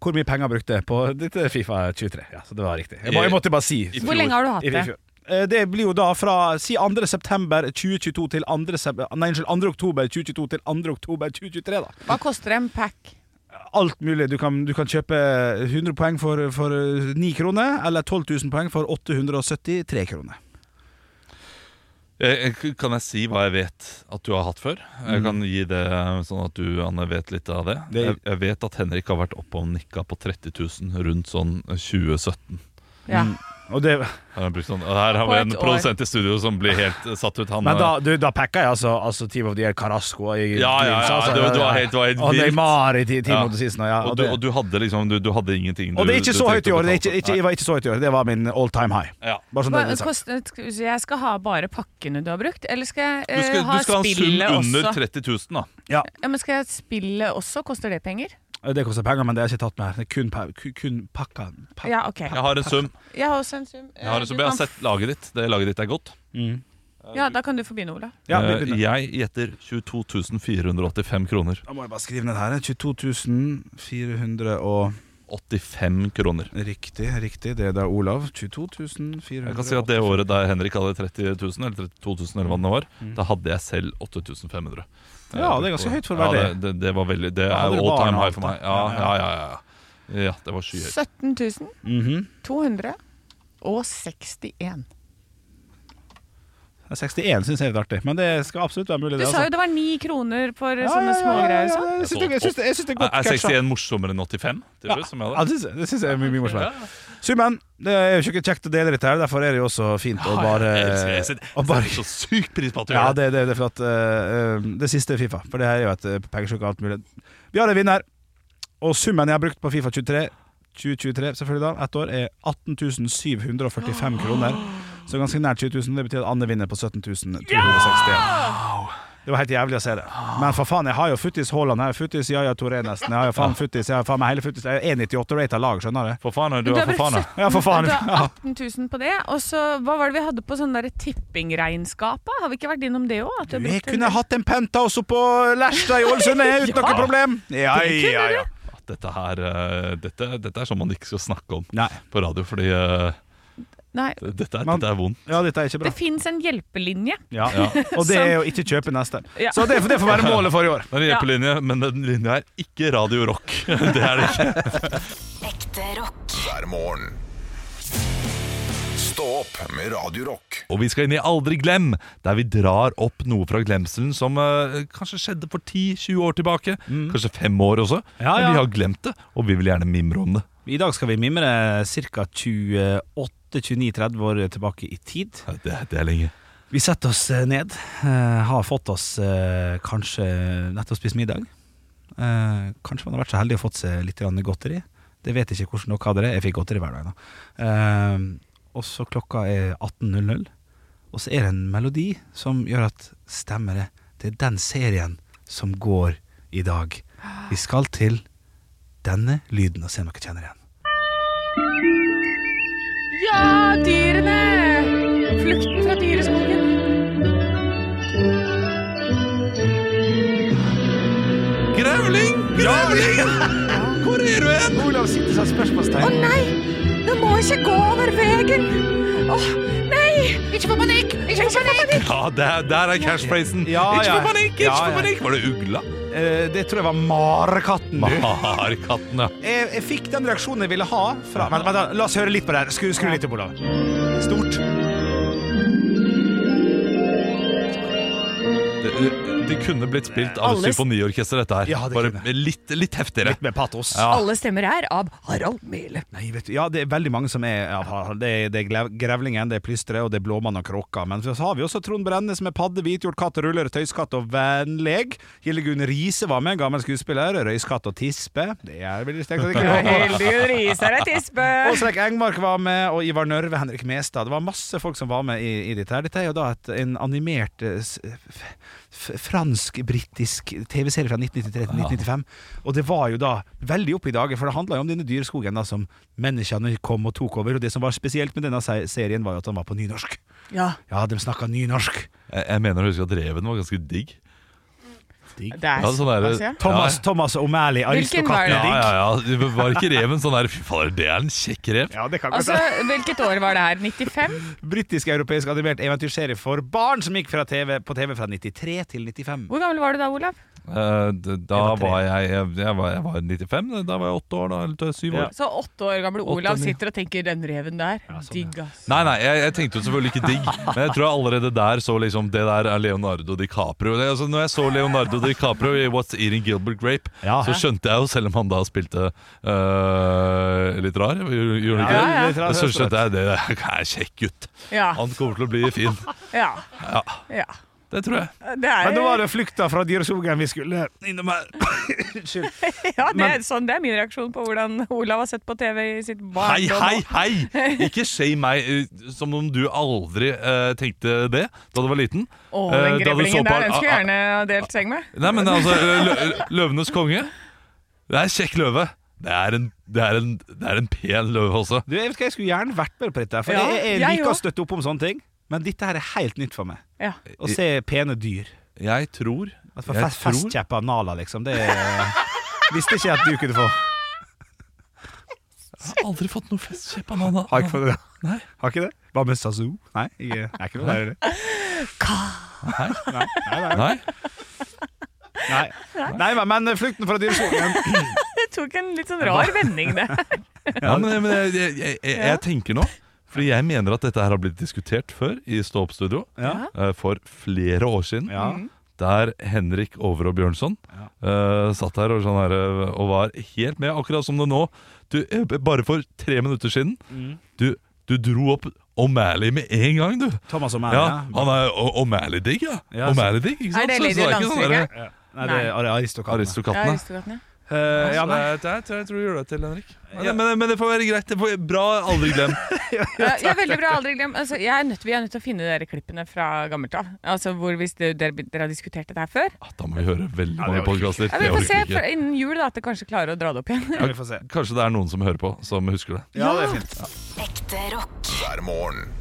[SPEAKER 3] Hvor mye penger brukte jeg på dette Fifa 23? Ja, så det var riktig. Jeg, må, jeg måtte bare si.
[SPEAKER 2] I
[SPEAKER 4] Hvor
[SPEAKER 2] fjor.
[SPEAKER 4] lenge har du hatt
[SPEAKER 3] I- i
[SPEAKER 4] det?
[SPEAKER 3] fjor. Eh, Det blir jo da fra si 2. september 2022 til 2. Sep ah, nei, unnskyld, 2. oktober 2022 til 2. oktober 2023, da.
[SPEAKER 4] Hva koster en pack?
[SPEAKER 3] Alt mulig. Du kan, du kan kjøpe 100 poeng for, eh, for 9 kroner, eller 12 000 poeng for 873 kroner.
[SPEAKER 2] Eh, k- Kan jeg si hva jeg vet at du har hatt før? Jeg kan gi det eh, sånn at du, Anne, vet litt av det.
[SPEAKER 3] Det-
[SPEAKER 2] Jeg, jeg vet at Henrik har vært oppe og nikka på 30 000 rundt sånn 2017.
[SPEAKER 4] Ja.
[SPEAKER 2] Sånn
[SPEAKER 3] Og det,
[SPEAKER 2] Har han brukt sånn, og her har
[SPEAKER 4] På
[SPEAKER 2] vi
[SPEAKER 4] et
[SPEAKER 2] en
[SPEAKER 4] år.
[SPEAKER 2] produsent i studio som blir helt eh, satt ut. Han,
[SPEAKER 3] men da,
[SPEAKER 2] eh,
[SPEAKER 3] du, da packa jeg altså, altså Team of the Year Carasco i altså,
[SPEAKER 2] Ja, ja, ja, det var- det var helt- det var helt
[SPEAKER 3] Og
[SPEAKER 2] vilt.
[SPEAKER 3] Neymar i ti- Team
[SPEAKER 2] Ja.
[SPEAKER 3] of the Season. og Ja,
[SPEAKER 2] og,
[SPEAKER 3] og,
[SPEAKER 2] du,
[SPEAKER 3] det,
[SPEAKER 2] og du hadde liksom Du, du hadde ingenting.
[SPEAKER 3] og det er
[SPEAKER 2] du- du
[SPEAKER 3] ikke så høyt
[SPEAKER 2] tenkte
[SPEAKER 3] i år.
[SPEAKER 2] å
[SPEAKER 3] Det, er
[SPEAKER 2] betale
[SPEAKER 3] ikke,
[SPEAKER 2] for.
[SPEAKER 3] ikke, det var ikke så høyt i år. Det var min all time high.
[SPEAKER 2] Nei. Ja.
[SPEAKER 3] Bare sånn det
[SPEAKER 4] Hva,
[SPEAKER 3] er sagt.
[SPEAKER 4] koster, skal vi si, jeg skal ha bare pakkene du har brukt, eller skal jeg
[SPEAKER 2] Du
[SPEAKER 4] eh,
[SPEAKER 2] skal,
[SPEAKER 4] ha
[SPEAKER 2] du skal ha en sum
[SPEAKER 4] spillet
[SPEAKER 2] under
[SPEAKER 4] også?
[SPEAKER 2] 30 000, da.
[SPEAKER 4] Ja, men skal jeg spille også? Koster det penger?
[SPEAKER 3] Det koster penger, men det har jeg ikke tatt med her. Det er kun, pa- kun, kun pakka. Pa-
[SPEAKER 4] Ja, ok.
[SPEAKER 2] Jeg har en sum.
[SPEAKER 4] Jeg har også en sum. eh,
[SPEAKER 2] Jeg har, en
[SPEAKER 4] Du
[SPEAKER 2] sum. Jeg har
[SPEAKER 4] kan-
[SPEAKER 2] sett laget ditt. Det laget ditt er godt.
[SPEAKER 3] Mm.
[SPEAKER 4] Ja, Da kan du få begynne, Ola.
[SPEAKER 3] Ja, vi
[SPEAKER 2] Eh,
[SPEAKER 3] begynner.
[SPEAKER 2] jeg gjetter 22 485 kroner.
[SPEAKER 3] Da må jeg bare skrive ned her. eh. 22.400 og
[SPEAKER 2] 85 kroner.
[SPEAKER 3] Riktig, riktig. Det er da Olav. 22.400
[SPEAKER 2] Jeg kan si at det året der Henrik hadde 30 000, eller 32 000, eller hva det nå var, da hadde jeg selv 8500.
[SPEAKER 3] Mm. Ja, det er ganske høyt for å være
[SPEAKER 2] Ja, det, det, det, var veldig, det er
[SPEAKER 3] Da hadde du
[SPEAKER 2] all
[SPEAKER 3] barn
[SPEAKER 2] time
[SPEAKER 3] og
[SPEAKER 2] high
[SPEAKER 3] alt,
[SPEAKER 2] for meg.
[SPEAKER 3] da.
[SPEAKER 2] Ja, ja,
[SPEAKER 3] Ja,
[SPEAKER 2] ja. ja, ja. ja det var skyhøyt.
[SPEAKER 4] 17
[SPEAKER 2] Mhm.
[SPEAKER 4] 261
[SPEAKER 3] Det er 61 syns jeg er litt artig, men det skal absolutt være mulig.
[SPEAKER 4] Du
[SPEAKER 3] det,
[SPEAKER 4] sa jo
[SPEAKER 3] altså.
[SPEAKER 4] det var ni kroner for
[SPEAKER 3] Ja, ja, ja,
[SPEAKER 4] sånne
[SPEAKER 3] ja, ja,
[SPEAKER 4] smågreier. sånn.
[SPEAKER 3] ja, Jeg syns det, jeg syns det, jeg syns det er godt
[SPEAKER 2] Er
[SPEAKER 3] catcha.
[SPEAKER 2] 61 morsommere enn 85? Typer, som jeg
[SPEAKER 3] Ja,
[SPEAKER 2] hadde?
[SPEAKER 3] det syns jeg- det syns jeg er mye, mye morsomt.
[SPEAKER 2] Ja.
[SPEAKER 3] Summen. Det er jo ikke kjekt å dele dette her, derfor er det jo også fint å bare
[SPEAKER 2] jeg elsker- jeg setter-
[SPEAKER 3] å bare-
[SPEAKER 2] jeg setter så sykt pris på at du
[SPEAKER 3] Ja,
[SPEAKER 2] gjør det.
[SPEAKER 3] det, det, det er for at eh, eh, Det siste er Fifa, for det her er jo et eh, pengesjuk og alt mulig. Vi har en vinner, og summen jeg har brukt på Fifa 23 2023 selvfølgelig da, ett år, er 18 745 kroner. Så ganske nært 20 000. Det betyr at Anne vinner på 17 261. Det var helt jævlig å se det. Men for faen, jeg har jo futtis Haaland, jeg har futtis Yaya Touré nesten, jeg har jo faen futtis, jeg har faen meg hele futtis. Jeg er 1,98-rata lag, skjønner du?
[SPEAKER 2] For faen, du er
[SPEAKER 4] Men du har
[SPEAKER 2] for faen.
[SPEAKER 4] brukt
[SPEAKER 2] ja.
[SPEAKER 3] Ja, for faen.
[SPEAKER 4] Du
[SPEAKER 3] Ja.
[SPEAKER 4] har 18 000 på det. Og så hva var det vi hadde på sånn derre tippingregnskapet? Har vi ikke vært innom det òg?
[SPEAKER 3] Jeg kunne hatt en penthouse oppå Lærstad i Ålesund, jeg, uten
[SPEAKER 4] Ja.
[SPEAKER 3] noe problem. Ja,
[SPEAKER 4] Det kunne
[SPEAKER 3] ja,
[SPEAKER 4] du.
[SPEAKER 3] ja.
[SPEAKER 2] Dette, her, eh, dette, dette er sånn man ikke skal snakke om
[SPEAKER 3] Nei.
[SPEAKER 2] på radio, fordi eh,
[SPEAKER 4] Nei.
[SPEAKER 2] det- dette er,
[SPEAKER 3] Man-
[SPEAKER 2] dette er vondt.
[SPEAKER 3] Ja, dette er ikke bra.
[SPEAKER 4] Det fins en hjelpelinje.
[SPEAKER 3] Ja. Og det er jo ikke kjøpe neste.
[SPEAKER 4] Ja.
[SPEAKER 3] Så det, det får være målet for i år.
[SPEAKER 2] Det er en hjelpelinje, men den linja er ikke Radio Rock. Det er det ikke.
[SPEAKER 5] Ekte rock.
[SPEAKER 1] hver morgen. Stå opp med Radio Rock.
[SPEAKER 2] Og vi skal inn i Aldri glem, der vi drar opp noe fra glemselen som eh, kanskje skjedde for 10-20 år tilbake. Kanskje fem år også.
[SPEAKER 3] Mm. Ja, ja.
[SPEAKER 2] Men vi har glemt det, og vi vil gjerne mimre om det.
[SPEAKER 3] I dag skal vi mimre ca. 28-29-30 år tilbake i tid.
[SPEAKER 2] Ja, Det, det er lenge.
[SPEAKER 3] Vi setter oss eh, ned, eh, har fått oss eh, kanskje nettopp spist middag. Eh, kanskje man har vært så heldig og fått seg litt grann godteri. Det vet jeg ikke hvordan dere hadde det. Jeg fikk godteri hver dag. da. Eh, og så klokka er 18.00, og så er det en melodi som gjør at stemmer det. Det er den serien som går i dag. Vi skal til denne lyden og se om dere kjenner igjen.
[SPEAKER 4] Ja, dyrene! Flukten fra dyreskogen.
[SPEAKER 2] Grevling! Grevling! Hvor er du hen?
[SPEAKER 3] Olav sitter som
[SPEAKER 4] Å
[SPEAKER 3] spørsmålstegn.
[SPEAKER 4] nei! Nå må jeg ikke gå over veien! Å nei! Ikke få panikk! Ikke få panikk!
[SPEAKER 2] Ja, der, der er cashphrasen.
[SPEAKER 3] Ja,
[SPEAKER 2] ikke
[SPEAKER 3] ja.
[SPEAKER 2] få panikk! ikke
[SPEAKER 3] Ja,
[SPEAKER 2] få
[SPEAKER 3] ja.
[SPEAKER 2] panikk Var det ugla?
[SPEAKER 3] Eh, det tror jeg var marekatten. du.
[SPEAKER 2] Marekatten, ja.
[SPEAKER 3] jeg, jeg fikk den reaksjonen jeg ville ha fra Vent, vent, da, la oss høre litt på det her. Skru, skru litt opp, Olav. Stort.
[SPEAKER 2] Det, det kunne blitt spilt av
[SPEAKER 4] Alle-
[SPEAKER 2] symfoniorkester, dette her.
[SPEAKER 3] Ja, det
[SPEAKER 2] Bare
[SPEAKER 3] kunne.
[SPEAKER 2] litt, litt heftigere.
[SPEAKER 3] Litt med patos.
[SPEAKER 2] Ja.
[SPEAKER 4] Alle stemmer er av Harald Mele.
[SPEAKER 3] Nei, vet du, ja, det er veldig mange som er ja, har- Det er, det er glev- grevlingen, det er plystret, og det er blåmann og kråka. Men så har vi også Trond Brennes med padde, hvitjort, katt, ruller, tøyskatt og vennleg. Hildegunn Riise var med, gammel skuespiller. Røyskatt og tispe. Det er veldig sterkt. at det ikke var-
[SPEAKER 4] Heldige griser er tispe.
[SPEAKER 3] Åsrek Engmark var med, og Ivar Nørve, Henrik Mestad. Det var masse folk som var med i, i dette. her Dette er jo da et, en animert eh, s- f- f- fransk-britisk TV-serie fra 1993 til 1995. Og det var jo da veldig oppe i dager, for det handla jo om denne dyreskogen da som menneskene kom og tok over. Og det som var spesielt med denne se- serien, var jo at han var på nynorsk.
[SPEAKER 4] Ja.
[SPEAKER 3] Ja, de snakka nynorsk.
[SPEAKER 2] Jeg, jeg mener å huske at reven var ganske digg.
[SPEAKER 6] Digg.
[SPEAKER 4] Det er
[SPEAKER 2] Ja, sånn er det.
[SPEAKER 4] hva sier jeg?
[SPEAKER 3] Thomas, Thomas O'Malley,
[SPEAKER 4] Hvilken var
[SPEAKER 3] aristokraten
[SPEAKER 4] det?
[SPEAKER 2] Ja,
[SPEAKER 3] er digg.
[SPEAKER 2] ja, ja. Det Var ikke reven sånn der Fy fader, det er en kjekk rev.
[SPEAKER 3] Ja, det kan godt
[SPEAKER 4] Altså,
[SPEAKER 3] hende.
[SPEAKER 4] Hvilket år var det her? 95?
[SPEAKER 3] Britisk-europeisk animert eventyrserie for barn som gikk fra TV, på TV fra 93 til 95.
[SPEAKER 4] Hvor gammel var du da, Olav?
[SPEAKER 2] Eh, d- Da
[SPEAKER 3] Jeg var tre.
[SPEAKER 2] var jeg jeg, jeg, var, jeg var 95, da var jeg åtte år, da. Eller t- syv
[SPEAKER 3] Ja.
[SPEAKER 2] år.
[SPEAKER 4] Så åtte år gamle
[SPEAKER 2] Åtte,
[SPEAKER 4] Olav
[SPEAKER 2] ni. sånn,
[SPEAKER 4] sitter og tenker 'den reven der'. Digg, ass.
[SPEAKER 2] Nei, nei, jeg, jeg tenkte jo selvfølgelig ikke digg, men jeg tror jeg allerede der så liksom Det der er Leonardo DiCaprio. Det, altså, når jeg så Leonardo DiCaprio i What's Eating Gilbert Grape,
[SPEAKER 6] Ja.
[SPEAKER 2] så skjønte jeg jo, selv om han da spilte øh, litt rar, gjorde gjorde han ikke det?
[SPEAKER 4] Ja, ja.
[SPEAKER 2] Jeg så skjønte jeg det der er en kjekk gutt.
[SPEAKER 4] Ja.
[SPEAKER 2] Han kommer til å bli fin.
[SPEAKER 4] ja.
[SPEAKER 2] Ja,
[SPEAKER 4] ja.
[SPEAKER 2] det tror jeg.
[SPEAKER 4] Det er,
[SPEAKER 3] Men da var det flukta fra dyreskogen vi skulle innom her. Unnskyld.
[SPEAKER 4] ja, det, er
[SPEAKER 3] men-
[SPEAKER 4] sånn, det er min reaksjon på hvordan Olav har sett på TV i sitt
[SPEAKER 2] Hei,
[SPEAKER 4] barndom.
[SPEAKER 2] hei, hei! Ikke shame meg eh, som om du aldri eh, tenkte det da du var liten.
[SPEAKER 4] Å,
[SPEAKER 2] Eh, da du
[SPEAKER 4] den
[SPEAKER 2] så
[SPEAKER 4] grevlingen
[SPEAKER 2] på- Ah,
[SPEAKER 4] der, den skulle jeg gjerne ha delt seng med.
[SPEAKER 2] Nei, men altså, lø lø- løvenes konge Det er en kjekk løve det er, en, det, er en, det er en pen løve også
[SPEAKER 3] Du, jeg, vet hva, jeg skulle gjerne vært med på dette, for
[SPEAKER 4] Ja,
[SPEAKER 3] jeg, jeg
[SPEAKER 4] jeg
[SPEAKER 3] liker å
[SPEAKER 4] også.
[SPEAKER 3] støtte opp om sånne ting. Men dette her er helt nytt for meg.
[SPEAKER 4] Ja.
[SPEAKER 3] Å se pene dyr.
[SPEAKER 2] Jeg tror
[SPEAKER 3] At få
[SPEAKER 2] Jeg
[SPEAKER 3] fest,
[SPEAKER 2] tror-
[SPEAKER 3] festkjeppe av Nala, liksom. Det er- visste ikke jeg at du kunne få.
[SPEAKER 2] Jeg har aldri fått noe festkjepp av noen
[SPEAKER 3] Har ikke fått det?
[SPEAKER 2] Nei.
[SPEAKER 3] Har ikke det? Hva med Sazoo? Nei, jeg jeg er ikke noe der i det. Nei, nei, nei,
[SPEAKER 2] Nei,
[SPEAKER 3] nei. nei. men- men flukten fra dyreskogen
[SPEAKER 4] Det tok en litt sånn rar vending, det.
[SPEAKER 2] ja, men, men jeg, jeg, jeg, jeg,
[SPEAKER 4] Ja.
[SPEAKER 2] jeg tenker nå Fordi jeg mener at dette her har blitt diskutert før I Stå-opp-studio
[SPEAKER 3] Ja.
[SPEAKER 2] eh, For flere år siden
[SPEAKER 3] Ja.
[SPEAKER 2] Der Henrik Over og Bjørnson eh, Satt her og, sånn her eh, og var helt med Akkurat som det nå du, eh, Bare for tre minutter siden
[SPEAKER 3] Mm.
[SPEAKER 2] du, du dro opp O'Malley med en gang du
[SPEAKER 3] Thomas og Mære.
[SPEAKER 2] Ja,
[SPEAKER 3] Ja.
[SPEAKER 2] han er O- O'Malley-digg, ja.
[SPEAKER 3] Ja, så-
[SPEAKER 2] O'Malley-digg, ikke
[SPEAKER 4] Er
[SPEAKER 2] sant?
[SPEAKER 4] det
[SPEAKER 2] Så- så
[SPEAKER 4] Lady
[SPEAKER 2] ikke sånn der-
[SPEAKER 4] Landstryket?
[SPEAKER 3] Nei, det er aristokratene.
[SPEAKER 4] Ja,
[SPEAKER 2] Aristokattene.
[SPEAKER 4] Aristokatten, ja.
[SPEAKER 3] Eh, ja,
[SPEAKER 2] Ja,
[SPEAKER 3] nei.
[SPEAKER 2] nei, det tror jeg tror du gjør det til, Henrik. Men, det- men, det- men det får være greit. Det får, bra, aldri glem.
[SPEAKER 4] Ja, ja, veldig bra. Aldri glem. Altså, jeg er nødt, vi er nødt til å finne dere klippene fra gammelt av. Altså, hvor hvis det- dere, dere har diskutert dette her før.
[SPEAKER 2] Ah, Da må vi høre veldig mange
[SPEAKER 3] orker
[SPEAKER 2] podkaster.
[SPEAKER 4] Ja, vi får se for, innen jul da, at dere kanskje klarer å dra det opp igjen.
[SPEAKER 3] Ja, vi får se.
[SPEAKER 2] Kanskje det er noen som hører på, som husker det.
[SPEAKER 3] Ja, det er fint.
[SPEAKER 5] Ekte rock.
[SPEAKER 1] hver morgen.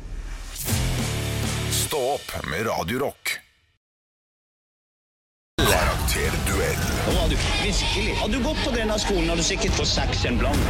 [SPEAKER 1] Stå opp med Radio Rock. Karakterduell
[SPEAKER 7] Og var du virkelig? Hadde du gått på denne skolen, hadde du sikkert fått seks en blant.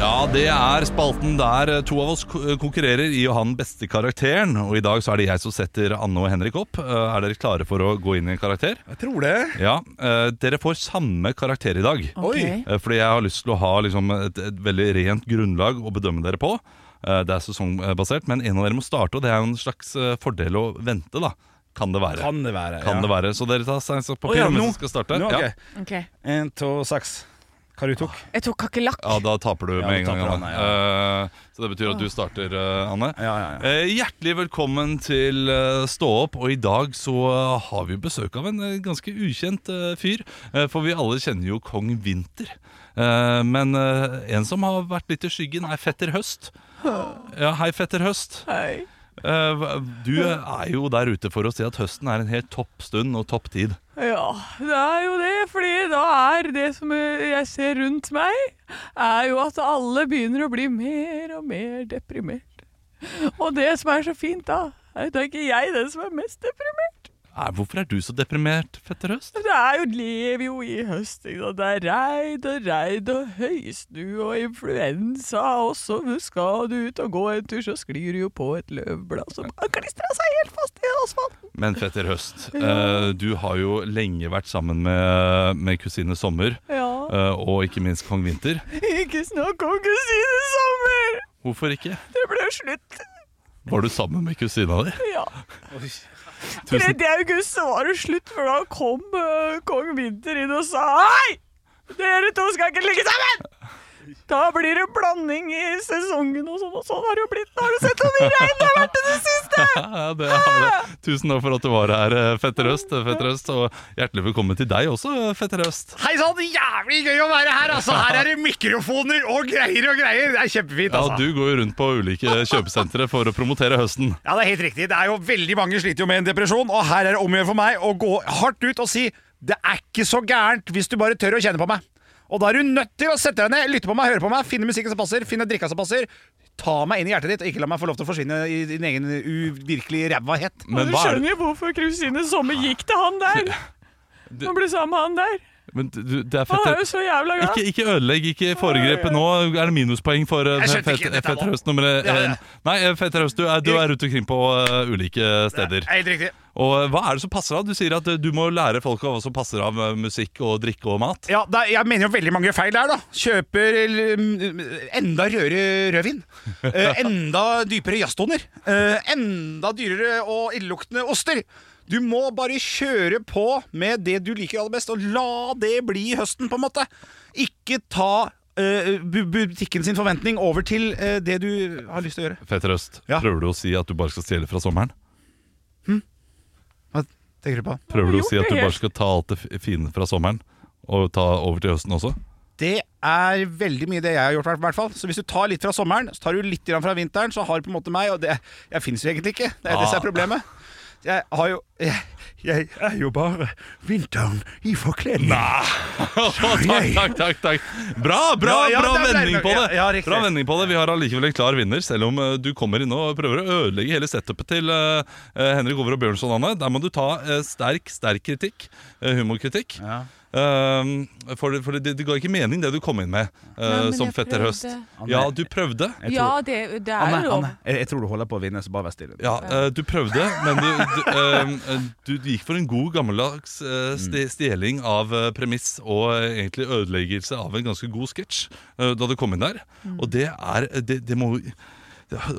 [SPEAKER 2] Ja, det er spalten der eh, to av oss ko- konkurrerer i å ha den beste karakteren. Og i dag så er det jeg som setter Anne og Henrik opp. Eh, Er dere klare for å gå inn i en karakter?
[SPEAKER 3] Jeg tror det.
[SPEAKER 2] Ja. eh, Dere får samme karakter i dag.
[SPEAKER 4] Ok.
[SPEAKER 2] Eh, Fordi jeg har lyst til å ha liksom, et, et veldig rent grunnlag å bedømme dere på. Eh, Det er sesongbasert, men en av dere må starte, og det er jo en slags eh, fordel å vente, da. Kan det være.
[SPEAKER 3] Kan det være.
[SPEAKER 2] Kan det være. Så dere tar stein, saks, papir
[SPEAKER 3] Å, ja,
[SPEAKER 2] om hvem
[SPEAKER 3] nå.
[SPEAKER 2] som skal starte.
[SPEAKER 3] Nå,
[SPEAKER 2] ja.
[SPEAKER 3] ok.
[SPEAKER 4] Ok.
[SPEAKER 3] En, to, seks. Hva du tok?
[SPEAKER 4] Jeg tok kakerlakk.
[SPEAKER 2] ja, da taper du
[SPEAKER 3] Ja,
[SPEAKER 2] med
[SPEAKER 3] da
[SPEAKER 2] en gang.
[SPEAKER 3] taper
[SPEAKER 2] Anne.
[SPEAKER 3] Anne,
[SPEAKER 2] Eh, Så det betyr at du starter, eh, Anne.
[SPEAKER 3] Ja, ja, ja.
[SPEAKER 2] Eh, Hjertelig velkommen til eh, Stå opp, og i dag så eh, har vi besøk av en eh, ganske ukjent eh, fyr. eh, For vi alle kjenner jo Kong Vinter. Eh, Men eh, en som har vært litt i skyggen, er Fetter Høst. Ja, hei, Fetter Høst.
[SPEAKER 4] Hei.
[SPEAKER 2] Eh, hva- Du er jo der ute for å si at høsten er en helt topp stund og topp tid.
[SPEAKER 4] Ja, det er jo det, fordi da er det som jeg ser rundt meg, er jo at alle begynner å bli mer og mer deprimert. Og det som er så fint da, er at det er ikke jeg den som er mest deprimert.
[SPEAKER 2] Eh, Hvorfor er du så deprimert, Fetter Høst?
[SPEAKER 4] Det er jo, lever jo i høst, ikke sant. Det er regn og regn og høysnue og influensa, og så skal du ut og gå en tur, så sklir du jo på et løvblad som har klistra seg helt fast i asfalten.
[SPEAKER 2] Men Fetter Høst, eh, du har jo lenge vært sammen med, med kusine Sommer, eh,
[SPEAKER 4] Ja,
[SPEAKER 2] og ikke minst Kong Vinter.
[SPEAKER 4] ikke snakk om kusine sommer!
[SPEAKER 2] Hvorfor ikke?
[SPEAKER 4] Det ble slutt.
[SPEAKER 2] Var du sammen med kusina di?
[SPEAKER 4] Ja.
[SPEAKER 2] Tusen-
[SPEAKER 4] 3. august så var det slutt, for da kom eh, kong Vinter inn og sa Hei! Dere to skal ikke ligge sammen! Da blir det blanding i sesongen og sånn, og sånn har det jo blitt. Har du sett hvor mye regn det har vært i det siste?
[SPEAKER 2] Ja, det har det. Tusen takk for at du var her, eh, Fetter Øst. eh, Fetter Øst og hjertelig velkommen til deg også, eh, Fetter Øst.
[SPEAKER 6] Hei sann, jævlig gøy å være her, altså! Her er det mikrofoner og greier og greier! Det er kjempefint,
[SPEAKER 2] Ja,
[SPEAKER 6] altså.
[SPEAKER 2] du går jo rundt på ulike kjøpesentre for å promotere høsten.
[SPEAKER 6] Ja, det er helt riktig. Det er jo veldig mange sliter jo med en depresjon, og her er det om å gjøre for meg å gå hardt ut og si det er ikke så gærent hvis du bare tør å kjenne på meg. Og da er du nødt til å sette deg ned, lytte på meg, høre på meg, finne musikken som passer, finne drikka som passer. Ta meg inn i hjertet ditt, og ikke la meg få lov til å forsvinne i din egen uvirkelige rævahet.
[SPEAKER 2] Men hva er det?
[SPEAKER 4] jo hvorfor Kristine Sommer gikk til han der. Nå blir sammen med han der.
[SPEAKER 2] Men du, det er
[SPEAKER 4] Han
[SPEAKER 2] fett
[SPEAKER 4] er jo så jævla glad.
[SPEAKER 2] Ikke, ikke ødelegg, ikke foregrep. Nå er det minuspoeng for eh,
[SPEAKER 3] Jeg skjønte
[SPEAKER 2] Fet
[SPEAKER 3] ikke dette
[SPEAKER 2] Fet
[SPEAKER 3] nå.
[SPEAKER 2] Raust nummer én.
[SPEAKER 3] Ja, ja.
[SPEAKER 2] Nei, eh, Fet Raust, du, er- du er rundt omkring på eh, ulike steder.
[SPEAKER 3] Helt riktig.
[SPEAKER 2] Og eh, hva er det som passer av? Du sier at eh, du må lære folk hva som passer av eh, musikk og drikke og mat.
[SPEAKER 3] Ja, da, jeg mener jo veldig mange feil der, da. Kjøper eller, mm, enda rødere rødvin. Eh, enda dypere jazztoner. Eh, enda dyrere og illeluktende oster. Du må bare kjøre på med det du liker aller best, og la det bli høsten, på en måte. Ikke ta eh, bu- butikken sin forventning over til eh, det du har lyst til å gjøre.
[SPEAKER 2] Fet Raust,
[SPEAKER 3] Ja.
[SPEAKER 2] prøver du å si at du bare skal stjele fra sommeren?
[SPEAKER 3] Hva tenker du på?
[SPEAKER 2] Prøver du
[SPEAKER 4] gjort
[SPEAKER 2] å si at
[SPEAKER 4] det
[SPEAKER 2] du bare
[SPEAKER 4] helt.
[SPEAKER 2] skal ta alt det f- fine fra sommeren og ta over til høsten også?
[SPEAKER 3] Det er veldig mye det jeg har gjort, i hvert fall. Så hvis du tar litt fra sommeren, så tar du litt grann fra vinteren, så har du på en måte meg, og det Jeg fins jo egentlig ikke. Det er det
[SPEAKER 2] Ah.
[SPEAKER 3] som er problemet. Jeg har jo Jeg, jeg er jo bare vinteren i forkledning.
[SPEAKER 2] takk, takk, takk, takk. Bra, bra,
[SPEAKER 3] Ja, ja,
[SPEAKER 2] bra
[SPEAKER 3] det er bra.
[SPEAKER 2] vending på det!
[SPEAKER 3] Ja, ja, riktig.
[SPEAKER 2] bra vending på det Vi har allikevel en klar vinner, selv om eh, du kommer inn og prøver å ødelegge hele setupet til eh, eh, Henrik Over og Bjørnson. Anne. Der må du ta eh, sterk sterk kritikk. eh, humorkritikk. Ehm, for det, for det, det ga ikke mening, det du kom inn med eh,
[SPEAKER 4] men
[SPEAKER 2] som
[SPEAKER 4] jeg
[SPEAKER 2] fetter
[SPEAKER 4] prøvde.
[SPEAKER 2] høst. Ja, du prøvde.
[SPEAKER 4] Ja, det, det er
[SPEAKER 3] Anne,
[SPEAKER 4] jo lov.
[SPEAKER 3] Anne, jeg, jeg tror du holder på å vinne, så bare vær stille.
[SPEAKER 2] Ja, eh, du prøvde, men du, du, ehm, eh, du gikk for en god gammeldags eh, sti- stjeling av eh, premiss og eh, egentlig ødeleggelse av en ganske god sketsj eh, da du kom inn der.
[SPEAKER 4] Mm.
[SPEAKER 2] Og det er eh, Det, det må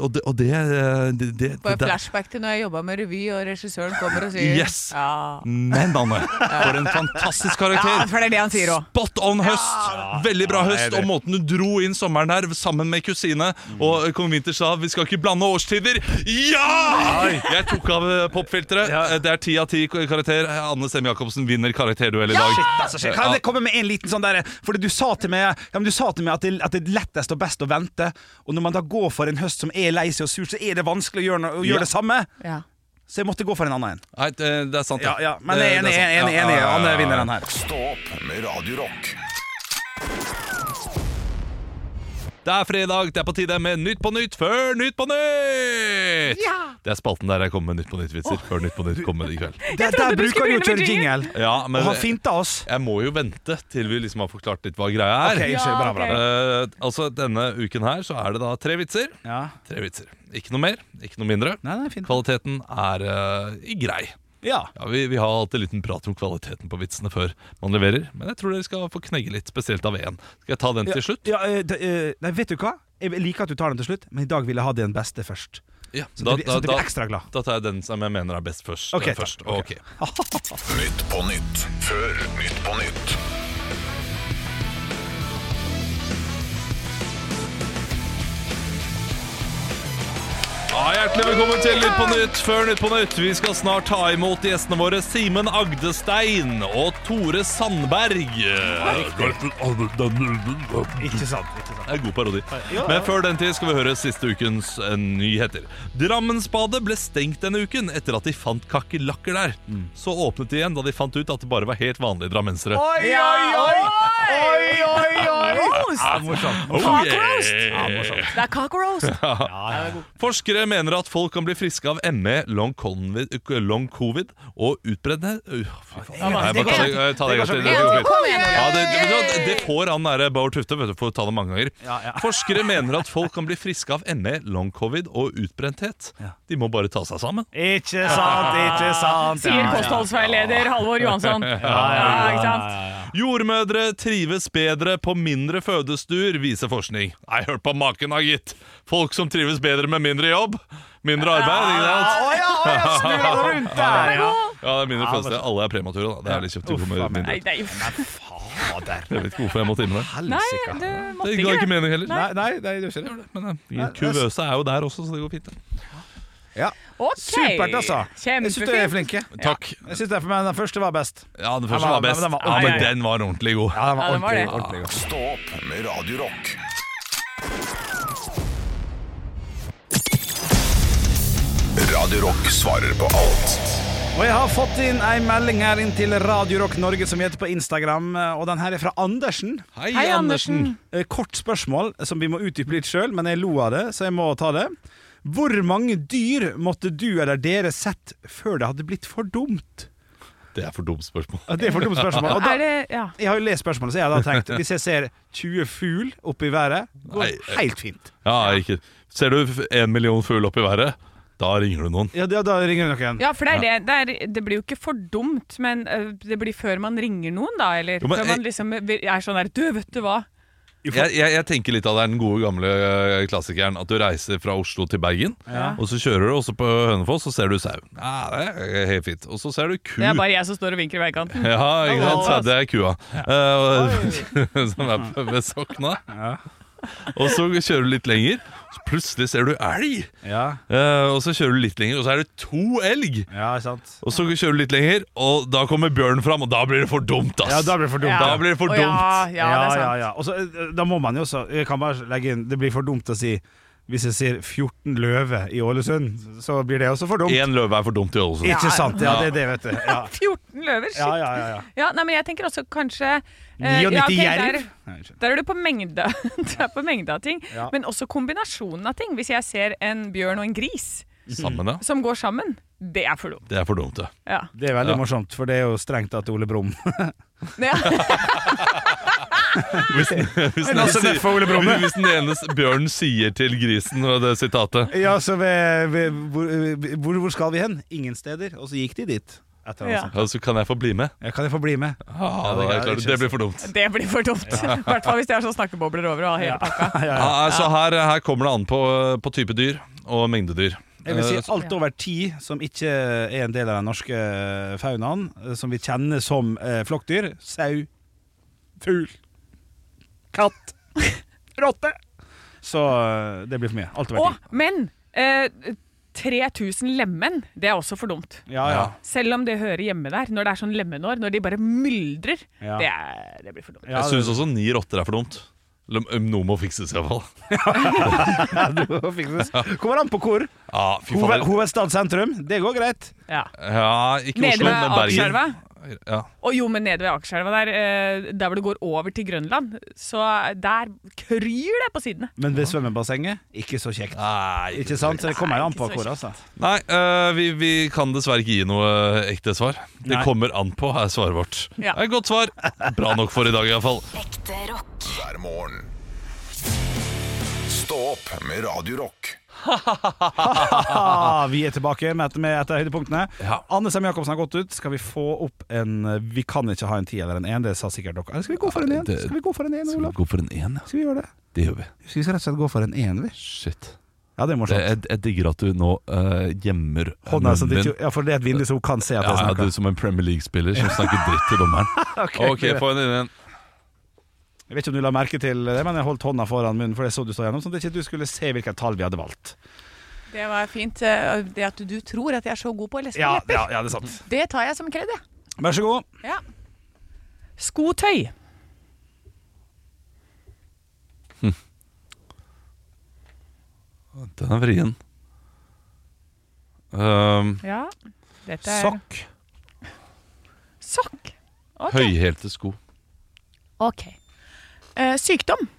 [SPEAKER 2] Og det, og det, eh, det, det,
[SPEAKER 4] Bare
[SPEAKER 2] det
[SPEAKER 4] flashback til når jeg jobba med revy, og regissøren kommer og sier
[SPEAKER 2] Yes!
[SPEAKER 4] ja.
[SPEAKER 2] Men, Anne, for en fantastisk
[SPEAKER 4] ja,
[SPEAKER 2] karakter!
[SPEAKER 4] for det er det han sier òg.
[SPEAKER 2] Spot on høst! Veldig bra høst. Og måten du dro inn sommeren her sammen med kusine.
[SPEAKER 3] Mm.
[SPEAKER 2] Og kong Winter sa 'vi skal ikke blande årstider'. Ja! Jeg tok av eh, popfilteret. Eh, Det er ti av ti karakter. Anne Sem Jacobsen vinner karakterduell i dag.
[SPEAKER 3] Altså, shit, kan jeg komme med en liten sånn derre Fordi du sa til meg, ja, men du sa til meg at, det, at det er lettest og best å vente. Og når man da går for en høst som er lei seg og sur, så er det vanskelig å gjøre, no- å gjøre
[SPEAKER 2] Ja.
[SPEAKER 3] det samme.
[SPEAKER 4] Ja.
[SPEAKER 3] Så jeg måtte gå for en annen en.
[SPEAKER 2] Nei, det, det er sant.
[SPEAKER 3] Ja, ja, men jeg er
[SPEAKER 2] Det-
[SPEAKER 3] enig,
[SPEAKER 2] det
[SPEAKER 3] jeg
[SPEAKER 2] sant.
[SPEAKER 3] er enig,
[SPEAKER 2] Ja,
[SPEAKER 3] enig.
[SPEAKER 2] ja, ja,
[SPEAKER 3] Han
[SPEAKER 2] ja,
[SPEAKER 3] er
[SPEAKER 2] ja.
[SPEAKER 3] vinneren her.
[SPEAKER 1] Stå opp med Radio Rock.
[SPEAKER 2] Det er fredag, det er på tide med Nytt på nytt før Nytt på nytt! Det er spalten der jeg kommer med Nytt på nytt-vitser. Før Nytt på nytt kommer i kveld.
[SPEAKER 3] Der,
[SPEAKER 4] trodde
[SPEAKER 3] der
[SPEAKER 4] du skulle
[SPEAKER 3] bruker han jo å
[SPEAKER 4] begynne med
[SPEAKER 3] kjøre jingle.
[SPEAKER 2] Ja, men
[SPEAKER 3] Og han finta oss.
[SPEAKER 2] jeg må jo vente til vi liksom har forklart litt hva greia er.
[SPEAKER 3] Ok, unnskyld, bra, bra, bra.
[SPEAKER 2] Eh, altså Denne uken her så er det da tre vitser.
[SPEAKER 3] Ja.
[SPEAKER 2] Tre vitser. Ikke noe mer, ikke noe mindre.
[SPEAKER 3] Nei, nei, fint.
[SPEAKER 2] Kvaliteten er eh, grei.
[SPEAKER 3] Ja.
[SPEAKER 2] Ja, vi, vi har alltid en liten prat om kvaliteten på vitsene før man leverer, men jeg tror dere skal få knegge litt, spesielt av én. Skal jeg ta den til slutt?
[SPEAKER 3] Ja, eh, d- eh, nei, vet du hva? Jeg liker at du tar den til slutt, men i dag vil jeg ha den beste først.
[SPEAKER 2] Ja,
[SPEAKER 3] Så da, det, blir- så det blir ekstra glad.
[SPEAKER 2] da tar jeg den som jeg mener er best først.
[SPEAKER 3] Ok,
[SPEAKER 2] eh,
[SPEAKER 3] takk.
[SPEAKER 2] først.
[SPEAKER 3] Ok.
[SPEAKER 2] Ok.
[SPEAKER 1] Nytt på nytt før Nytt på nytt.
[SPEAKER 2] Ja, hjertelig velkommen til Nytt på Nytt før Nytt på Nytt. Vi skal snart ta imot gjestene våre Simen Agdestein og Tore Sandberg.
[SPEAKER 3] Ikke sant? ikke sant
[SPEAKER 2] Det er god parodi. Men før den tid skal vi høre siste ukens eh, nyheter. Drammensbadet ble stengt denne uken etter at de fant kakerlakker der. Så åpnet de igjen da de fant ut at det bare var helt vanlige drammensere.
[SPEAKER 4] Oi, oi, oi!
[SPEAKER 2] Ja,
[SPEAKER 4] Roast!
[SPEAKER 2] morsomt.
[SPEAKER 4] Cock
[SPEAKER 2] Oh, yeah.
[SPEAKER 4] roast. Det er cock roast.
[SPEAKER 2] Forskere mener at folk kan bli friske av ME, long covid, long covid og utbredende uh, Fy faen. Nei,
[SPEAKER 3] det
[SPEAKER 2] bare ta
[SPEAKER 3] går
[SPEAKER 2] det- eh, ta det en gang til. Det går fint.
[SPEAKER 4] Kom igjen,
[SPEAKER 2] Ja,
[SPEAKER 4] Olav.
[SPEAKER 2] det, det, vet du hva, det får han der Bård Tufte, vet du, for å ta det mange ganger.
[SPEAKER 3] ja.
[SPEAKER 2] Forskere mener at folk kan bli friske av ME, long covid og utbrenthet. De må bare ta seg sammen.
[SPEAKER 3] Ikke sant, ikke sant.
[SPEAKER 4] Sier
[SPEAKER 3] ja, ja.
[SPEAKER 4] kostholdsveileder Halvor Johansson. Ja, ikke sant?
[SPEAKER 2] Jordmødre trives bedre på mindre fødestuer, viser forskning. Nei, hør på maken, da, gitt! Folk som trives bedre med mindre jobb, mindre arbeid, ikke sant?
[SPEAKER 3] Å ja, å ja, snur det rundt der! Ja.
[SPEAKER 2] Ja, det er mindre fødsel. Alle er premature, da. Det er litt kjipt å komme
[SPEAKER 3] Ah, faen meg.
[SPEAKER 2] mindre.
[SPEAKER 4] Nei, nei,
[SPEAKER 2] Jeg vet ikke hvorfor jeg måtte inn med det.
[SPEAKER 4] nei, det måtte
[SPEAKER 2] Det ga
[SPEAKER 4] ikke
[SPEAKER 2] ikke
[SPEAKER 4] det.
[SPEAKER 2] mening heller.
[SPEAKER 3] Nei, nei, nei, du ser det.
[SPEAKER 2] Men eh, kuvøse er jo der også, så det går fint. det.
[SPEAKER 3] Ja.
[SPEAKER 4] Ok.
[SPEAKER 3] Supert, altså. Jeg syns dere er
[SPEAKER 4] Kjempefint.
[SPEAKER 3] flinke.
[SPEAKER 2] Takk.
[SPEAKER 3] Jeg synes derfor, men Den første var best.
[SPEAKER 2] Ja, den
[SPEAKER 3] Ja,
[SPEAKER 2] første
[SPEAKER 3] men-
[SPEAKER 2] var best.
[SPEAKER 3] men den var
[SPEAKER 2] Ja, men
[SPEAKER 3] ordentlig.
[SPEAKER 2] den var ordentlig god.
[SPEAKER 3] Ja, den var
[SPEAKER 4] Ja, den var
[SPEAKER 3] ordentlig,
[SPEAKER 4] det.
[SPEAKER 3] ordentlig god.
[SPEAKER 1] Stå opp med Radio Rock. Radio Rock svarer på alt.
[SPEAKER 3] Og jeg har fått inn ei melding her inn til Radio Rock Norge som heter på Instagram, eh, og den her er fra Andersen.
[SPEAKER 2] Hei,
[SPEAKER 4] Hei,
[SPEAKER 2] Andersen.
[SPEAKER 3] Eh,
[SPEAKER 4] Andersen.
[SPEAKER 3] Kort spørsmål som vi må utdype litt sjøl, men jeg lo av det, så jeg må ta det. Hvor mange dyr måtte du eller dere sett før det hadde blitt for dumt?
[SPEAKER 2] Det er for dumt spørsmål.
[SPEAKER 3] Det er for dumt spørsmål. Og da,
[SPEAKER 4] Er det Ja.
[SPEAKER 3] jeg har jo lest spørsmålet, så jeg har da tenkt hvis jeg ser 20 fugl oppe i været, går
[SPEAKER 2] Nei,
[SPEAKER 3] det helt fint.
[SPEAKER 2] Ja, ikke. Ser du f- en million fugl opp i været, da ringer du noen.
[SPEAKER 3] Ja, da, da ringer det noen.
[SPEAKER 4] Ja, for det er det. Det, er, det blir jo ikke for dumt, men øh, det blir før man ringer noen, da, eller?
[SPEAKER 2] Jo, men
[SPEAKER 4] før man liksom er sånn der Du, vet du hva?
[SPEAKER 2] Jeg, jeg, jeg tenker litt av det er den gode gamle eh, klassikeren at du reiser fra Oslo til Bergen, og så kjører du også på Hønefoss, og ser du sau. Ja, det er helt fint. Og så ser du ku.
[SPEAKER 4] Det er bare jeg som står og vinker i veikanten.
[SPEAKER 2] Ja, ikke sant? Så det er kua eh, som er på- ved Sokna. Og så kjører du litt lenger, så plutselig ser du elg.
[SPEAKER 3] Ja,
[SPEAKER 2] Eh, og så kjører du litt lenger, og så er det to elg.
[SPEAKER 3] ja sant.
[SPEAKER 2] Og så kjører du litt lenger, og da kommer bjørnen fram, og da blir det for dumt, ass.
[SPEAKER 3] Ja, da blir det for dumt.
[SPEAKER 2] Da blir det for
[SPEAKER 4] Å, Ja,
[SPEAKER 2] dumt.
[SPEAKER 4] ja, det er sant.
[SPEAKER 3] ja, ja. Og så, eh, da må man jo også jeg kan bare legge inn, Det blir for dumt å si Hvis jeg sier 14 løver i Ålesund, så blir det også for dumt.
[SPEAKER 2] Én løve er for dumt i Ålesund.
[SPEAKER 3] Ikke sant? Ja, det er det, vet du. Ja,
[SPEAKER 4] 14 løver, shit.
[SPEAKER 3] ja,
[SPEAKER 4] Ja,
[SPEAKER 3] ja. ja, ja.
[SPEAKER 4] nei, men jeg tenker også kanskje eh, ja,
[SPEAKER 3] 99
[SPEAKER 4] ok,
[SPEAKER 3] jerv.
[SPEAKER 4] der-
[SPEAKER 3] Nei, unnskyld.
[SPEAKER 4] Der er du på mengde, du er på mengde av ting,
[SPEAKER 3] Ja.
[SPEAKER 4] men også kombinasjonen av ting. Hvis jeg ser en bjørn og en gris
[SPEAKER 2] Sammen, ja.
[SPEAKER 4] som går sammen, det er for dumt.
[SPEAKER 2] Det er for dumt, det.
[SPEAKER 4] Ja.
[SPEAKER 3] Det er veldig
[SPEAKER 2] Ja.
[SPEAKER 3] morsomt, for det er jo strengt tatt Ole Brumm.
[SPEAKER 4] Ja.
[SPEAKER 2] Hvis, hvis, den,
[SPEAKER 3] Lasse
[SPEAKER 2] sier-
[SPEAKER 3] Neffe og Ole Brumme.
[SPEAKER 2] hvis den ene s- bjørnen sier til grisen og det sitatet
[SPEAKER 3] Ja, så ved, ved, hvor, hvor, hvor skal vi hen? Ingen steder. Og så gikk de dit. Etter han
[SPEAKER 4] Ja.
[SPEAKER 3] sa.
[SPEAKER 2] ja, så kan jeg få bli med.
[SPEAKER 3] Ja, kan jeg få bli med?
[SPEAKER 2] Ah,
[SPEAKER 3] det
[SPEAKER 2] det,
[SPEAKER 3] er
[SPEAKER 2] er klart,
[SPEAKER 3] ikke
[SPEAKER 2] det blir for dumt.
[SPEAKER 4] Det blir for dumt. I hvert fall hvis det er sånn snakkebobler over og hele pakka.
[SPEAKER 2] Ah, så her, her kommer det an på, på type dyr og mengdedyr.
[SPEAKER 3] Jeg vil si
[SPEAKER 2] Eh,
[SPEAKER 3] alt over ti som ikke er en del av den norske faunaen, eh, som vi kjenner som eh, flokkdyr. Sau, fugl, katt, rotte. Så eh, det blir for mye. Alt over
[SPEAKER 4] Og,
[SPEAKER 3] ti.
[SPEAKER 4] men eh, 3000 lemen, det er også for dumt.
[SPEAKER 3] Ja, ja.
[SPEAKER 4] Selv om det hører hjemme der, når det er sånn lemenår, når de bare myldrer.
[SPEAKER 3] Ja.
[SPEAKER 4] Det, er, det blir for dumt.
[SPEAKER 3] ja
[SPEAKER 2] jeg syns også ni rotter er for dumt. Eller, um, Noe må fikses, iallfall.
[SPEAKER 3] det må fikses. Kommer an på hvor.
[SPEAKER 2] Ja, fy
[SPEAKER 3] Hoved,
[SPEAKER 2] faen.
[SPEAKER 3] hovedstad sentrum, det går greit.
[SPEAKER 4] Ja.
[SPEAKER 2] Ja, ikke
[SPEAKER 4] Nede
[SPEAKER 2] Oslo,
[SPEAKER 4] ved
[SPEAKER 2] men Bergen.
[SPEAKER 4] Akerselva.
[SPEAKER 2] Ja.
[SPEAKER 4] Og jo, men nede ved Akerselva, der, eh, der hvor du går over til Grønland, så der kryr det på sidene.
[SPEAKER 3] Men ved svømmebassenget, ikke så kjekt.
[SPEAKER 2] Nei,
[SPEAKER 3] Ikke sant? Så det kommer jo an på
[SPEAKER 4] Nei, ikke
[SPEAKER 3] hvor,
[SPEAKER 4] så
[SPEAKER 3] altså.
[SPEAKER 2] Nei, øh, vi, vi kan dessverre ikke gi noe ekte svar. Det
[SPEAKER 3] Nei.
[SPEAKER 2] kommer an på, er svaret vårt.
[SPEAKER 4] Ja.
[SPEAKER 2] Det er et godt svar. Bra nok for i dag, iallfall.
[SPEAKER 5] Ekte rock.
[SPEAKER 1] hver morgen. Stå opp med Radio Rock.
[SPEAKER 3] Ah, vi er tilbake med med et av høydepunktene.
[SPEAKER 2] Ja.
[SPEAKER 3] Anne Sem Jacobsen har gått ut. Skal vi få opp en eh, Vi kan ikke ha en ti eller en én, det sa sikkert dere. Eller skal vi gå for en én?
[SPEAKER 2] det-
[SPEAKER 3] Skal vi gå for en én, Olav?
[SPEAKER 2] gå for en én, ja?
[SPEAKER 3] Skal vi gjøre det?
[SPEAKER 2] Det gjør vi.
[SPEAKER 3] Skal vi skal rett og slett gå for en én, vi?
[SPEAKER 2] Shit.
[SPEAKER 3] Ja, det er
[SPEAKER 2] Det,
[SPEAKER 3] morsomt.
[SPEAKER 2] jeg, jeg digger at du nå øh, gjemmer
[SPEAKER 3] Hånda som
[SPEAKER 2] munnen
[SPEAKER 3] det
[SPEAKER 2] din.
[SPEAKER 3] ikke, ja, for det er et vindu som hun kan se at
[SPEAKER 2] Ja,
[SPEAKER 3] jeg
[SPEAKER 2] ja,
[SPEAKER 3] snakker.
[SPEAKER 2] du som en Premier League-spiller som snakker dritt til dommeren. OK,
[SPEAKER 3] greit.
[SPEAKER 2] få en inn igjen.
[SPEAKER 3] Jeg vet ikke om du la merke til det, men jeg holdt hånda foran munnen, for det så du så gjennom, sånn at ikke du skulle se hvilket tall vi hadde valgt.
[SPEAKER 4] Det var fint. eh, Det at du tror at jeg er så god på å lese
[SPEAKER 3] Ja,
[SPEAKER 4] lepper,
[SPEAKER 3] ja, ja det er sant.
[SPEAKER 4] det tar jeg som kred, jeg.
[SPEAKER 3] Vær så god.
[SPEAKER 4] Ja. Skotøy.
[SPEAKER 2] Den er vrien. Ehm,
[SPEAKER 4] Ja. Dette er
[SPEAKER 3] Sokk.
[SPEAKER 4] Sokk. Ok.
[SPEAKER 2] Høyhælte sko.
[SPEAKER 4] Ok. Eh, sykdom.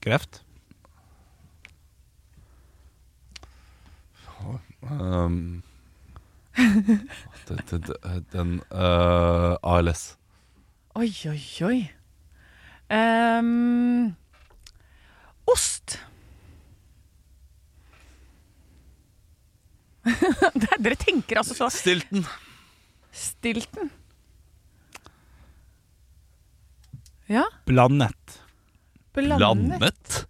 [SPEAKER 3] Kreft.
[SPEAKER 2] Ehm, den den- den øh, ALS.
[SPEAKER 4] Oi, oi, oi. Ehm, ost. Det er- Dere tenker altså så
[SPEAKER 2] Stilton.
[SPEAKER 4] Stilten. Ja.
[SPEAKER 3] Blandet.
[SPEAKER 4] Blandet.
[SPEAKER 2] Landet?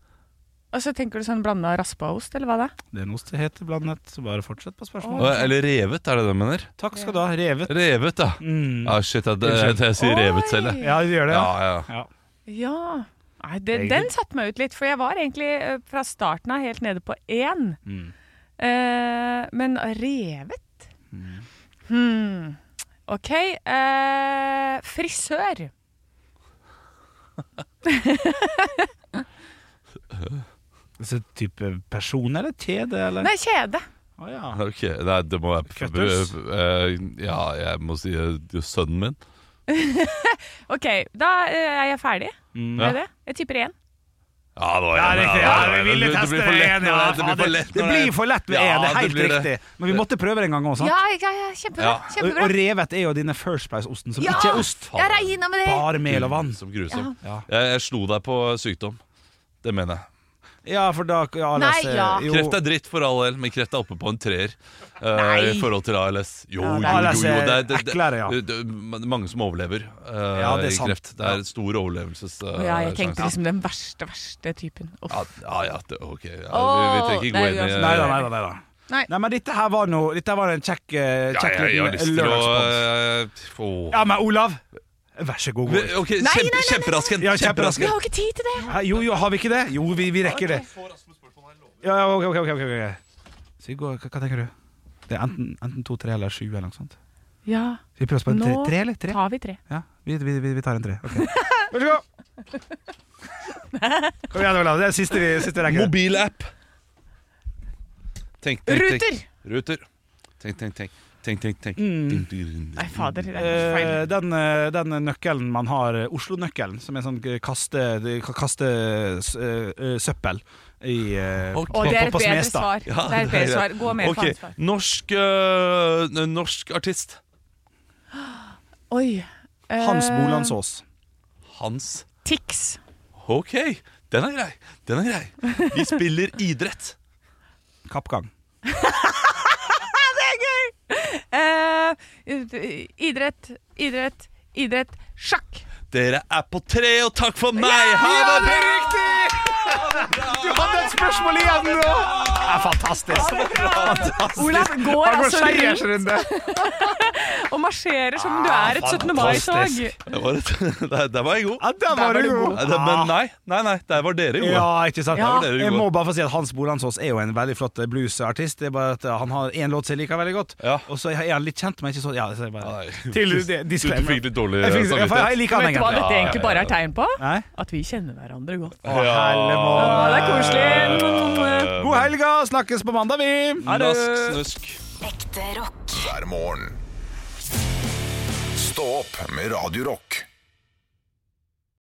[SPEAKER 4] Og så tenker du sånn blanda raspa ost, eller hva det er?
[SPEAKER 3] Det er en ost som heter blandet, så bare fortsett på
[SPEAKER 2] Å,
[SPEAKER 3] spørsmålet.
[SPEAKER 2] Eller revet, er det det du mener?
[SPEAKER 3] Takk skal du ha. Revet.
[SPEAKER 2] Revet, ja.
[SPEAKER 3] Mm.
[SPEAKER 2] Ah, shit, jeg, jeg, jeg, sier revet selv. jeg.
[SPEAKER 3] Ja, du gjør det?
[SPEAKER 2] Ja,
[SPEAKER 3] Ja.
[SPEAKER 2] ja.
[SPEAKER 3] Ja.
[SPEAKER 4] Ja. Nei, det, den satte meg ut litt, for jeg var egentlig eh, fra starten av helt nede på én.
[SPEAKER 3] Mm.
[SPEAKER 4] Eh, men revet? Hmm. OK. eh, frisør.
[SPEAKER 3] Så type person eller kjede, eller?
[SPEAKER 4] Nei, kjede.
[SPEAKER 3] Å, ja.
[SPEAKER 2] Ok, nei, det må være
[SPEAKER 3] Cutters.
[SPEAKER 2] Eh, Ja, jeg må si eh, det er sønnen min.
[SPEAKER 4] OK, da eh, er jeg ferdig
[SPEAKER 3] Mm.
[SPEAKER 4] med det. Jeg tipper én.
[SPEAKER 2] Ja, det var
[SPEAKER 3] Ja, riktig. Ja,
[SPEAKER 2] det var-
[SPEAKER 3] vi ville
[SPEAKER 2] det- det
[SPEAKER 3] teste
[SPEAKER 2] blir
[SPEAKER 3] det
[SPEAKER 2] for lett
[SPEAKER 3] igjen.
[SPEAKER 2] når
[SPEAKER 3] Ja,
[SPEAKER 2] det- Det blir for lett
[SPEAKER 3] det
[SPEAKER 2] når
[SPEAKER 3] blir for lett med
[SPEAKER 2] Ja,
[SPEAKER 3] én, det er helt
[SPEAKER 2] blir det.
[SPEAKER 3] riktig. Men vi måtte prøve det en gang òg, sant?
[SPEAKER 8] Ja, ja, ja, kjempebra.
[SPEAKER 2] Ja.
[SPEAKER 3] Og, og
[SPEAKER 8] kjempebra.
[SPEAKER 3] revet er jo dine First Price-osten, som
[SPEAKER 8] Ja,
[SPEAKER 3] ikke er ost.
[SPEAKER 8] Jeg regna med det.
[SPEAKER 3] Bare mel og vann.
[SPEAKER 2] Som grusom. Jeg, jeg slo deg på sykdom. Det mener jeg.
[SPEAKER 3] Ja, for da ja,
[SPEAKER 8] Nei,
[SPEAKER 3] ALS, eh,
[SPEAKER 8] ja.
[SPEAKER 3] jo.
[SPEAKER 2] Kreft er dritt for all del, men kreft er oppe på en treer eh, i forhold til ALS. Jo, jo, jo.
[SPEAKER 3] er-
[SPEAKER 2] jo, jo. Det, er-
[SPEAKER 3] Eklere, ja.
[SPEAKER 2] det, det, det er mange som overlever eh,
[SPEAKER 3] Ja, det er
[SPEAKER 2] i
[SPEAKER 3] sant.
[SPEAKER 2] kreft. Det er stor overlevelsessjanse.
[SPEAKER 4] Ja, jeg tenkte liksom den verste, verste typen. Uff.
[SPEAKER 2] Ja, ja, ja det, ok. Ja, vi, vi trenger ikke gå
[SPEAKER 4] Åh, det er
[SPEAKER 2] inn i
[SPEAKER 4] uansett.
[SPEAKER 3] Nei da, nei da. Nei, da.
[SPEAKER 4] Nei.
[SPEAKER 3] Nei, men dette her var noe Dette her var en kjekk, eh,
[SPEAKER 2] Ja,
[SPEAKER 3] kjekk
[SPEAKER 2] jeg, jeg har lyst
[SPEAKER 3] liten
[SPEAKER 2] til å
[SPEAKER 3] lørdagsbonus.
[SPEAKER 2] eh, få-
[SPEAKER 3] Ja, men Olav, vær så god. gå ut.
[SPEAKER 2] Ok,
[SPEAKER 8] nei,
[SPEAKER 2] kjempe,
[SPEAKER 8] nei, nei,
[SPEAKER 2] kjemperasken.
[SPEAKER 3] Ja,
[SPEAKER 8] Vi
[SPEAKER 3] kjemperasken.
[SPEAKER 8] har jo ikke tid til det.
[SPEAKER 3] Hæ, Jo, jo, har vi ikke det? Jo, vi, vi rekker det. Ja, ja, ok, ok, ok, ok, ok. Så vi går, hva, hva tenker du? Det er enten, enten to, tre eller sju eller noe sånt.
[SPEAKER 4] Ja,
[SPEAKER 3] Vi prøver oss på en tre,
[SPEAKER 4] Nå
[SPEAKER 3] tre eller? Tre?
[SPEAKER 4] tar vi tre.
[SPEAKER 3] Ja, vi, vi, vi, vi tar en tre. Ok. Vær så god! Kom igjen, Olav. Det er siste vi, siste vi rekker.
[SPEAKER 2] Mobilapp. Tenk, tenk, tenk.
[SPEAKER 4] Ruter!
[SPEAKER 2] Ruter. Tenk, tenk, tenk. Tenk, tenk, tenk.
[SPEAKER 4] Nei, fader. Det er feil.
[SPEAKER 3] Eh, den, eh, den nøkkelen man har, eh, Oslo-nøkkelen, som er sånn eh, kaste, de- kaste s- eh, eh, søppel i eh,
[SPEAKER 2] Ok.
[SPEAKER 4] Og det er
[SPEAKER 3] på-
[SPEAKER 4] et
[SPEAKER 3] på
[SPEAKER 4] bedre
[SPEAKER 3] Smestad.
[SPEAKER 4] svar.
[SPEAKER 2] Ja,
[SPEAKER 4] Det er et
[SPEAKER 2] det er
[SPEAKER 4] bedre svar. Gå mer
[SPEAKER 2] Ok,
[SPEAKER 4] på ansvar.
[SPEAKER 2] norsk, øh, n- norsk artist.
[SPEAKER 4] Oi. eh,
[SPEAKER 3] Hans Bolandsås.
[SPEAKER 2] Hans.
[SPEAKER 4] Tix.
[SPEAKER 2] Ok, den er grei. Den er grei. Vi spiller idrett.
[SPEAKER 3] Kappgang.
[SPEAKER 4] Eh, idrett, idrett, idrett. Sjakk!
[SPEAKER 2] Dere er på tre, og takk for meg! Ha det bra!
[SPEAKER 3] Du hadde et spørsmål igjen nå! Det er fantastisk.
[SPEAKER 4] Olav går altså rundt
[SPEAKER 3] skjærersrunde.
[SPEAKER 4] og marsjerer som om du er et 17. mai-tog.
[SPEAKER 3] fantastisk.
[SPEAKER 2] Det var et- Der der var jeg god.
[SPEAKER 3] Ja, der var du god.
[SPEAKER 2] Nei, det- Men nei, nei, nei, der var dere gode.
[SPEAKER 3] Ja, ikke sant?
[SPEAKER 2] Ja.
[SPEAKER 3] Jeg må bare få si at Hans Bolandsås er jo en veldig flott eh, bluesartist. Det er bare at eh, Han har én låt som jeg liker veldig godt,
[SPEAKER 2] Ja.
[SPEAKER 3] og så er han litt kjent, men ikke så Ja, så jeg bare
[SPEAKER 2] Nei.
[SPEAKER 3] Til det-
[SPEAKER 2] Du
[SPEAKER 3] disclaimer.
[SPEAKER 2] fikk litt dårlig
[SPEAKER 3] Jeg, fikk, jeg,
[SPEAKER 2] samvittighet.
[SPEAKER 3] jeg liker han
[SPEAKER 4] Vet du hva
[SPEAKER 3] egentlig.
[SPEAKER 4] dette egentlig bare er tegn på?
[SPEAKER 3] Nei?
[SPEAKER 4] At vi kjenner hverandre godt.
[SPEAKER 3] Å, hellemåne.
[SPEAKER 4] Å, det er koselig.
[SPEAKER 3] God helg, da. Snakkes på mandag, vi.
[SPEAKER 2] Nask, snusk.
[SPEAKER 5] Ekte rock.
[SPEAKER 1] hver morgen. Stå opp med Radio Rock.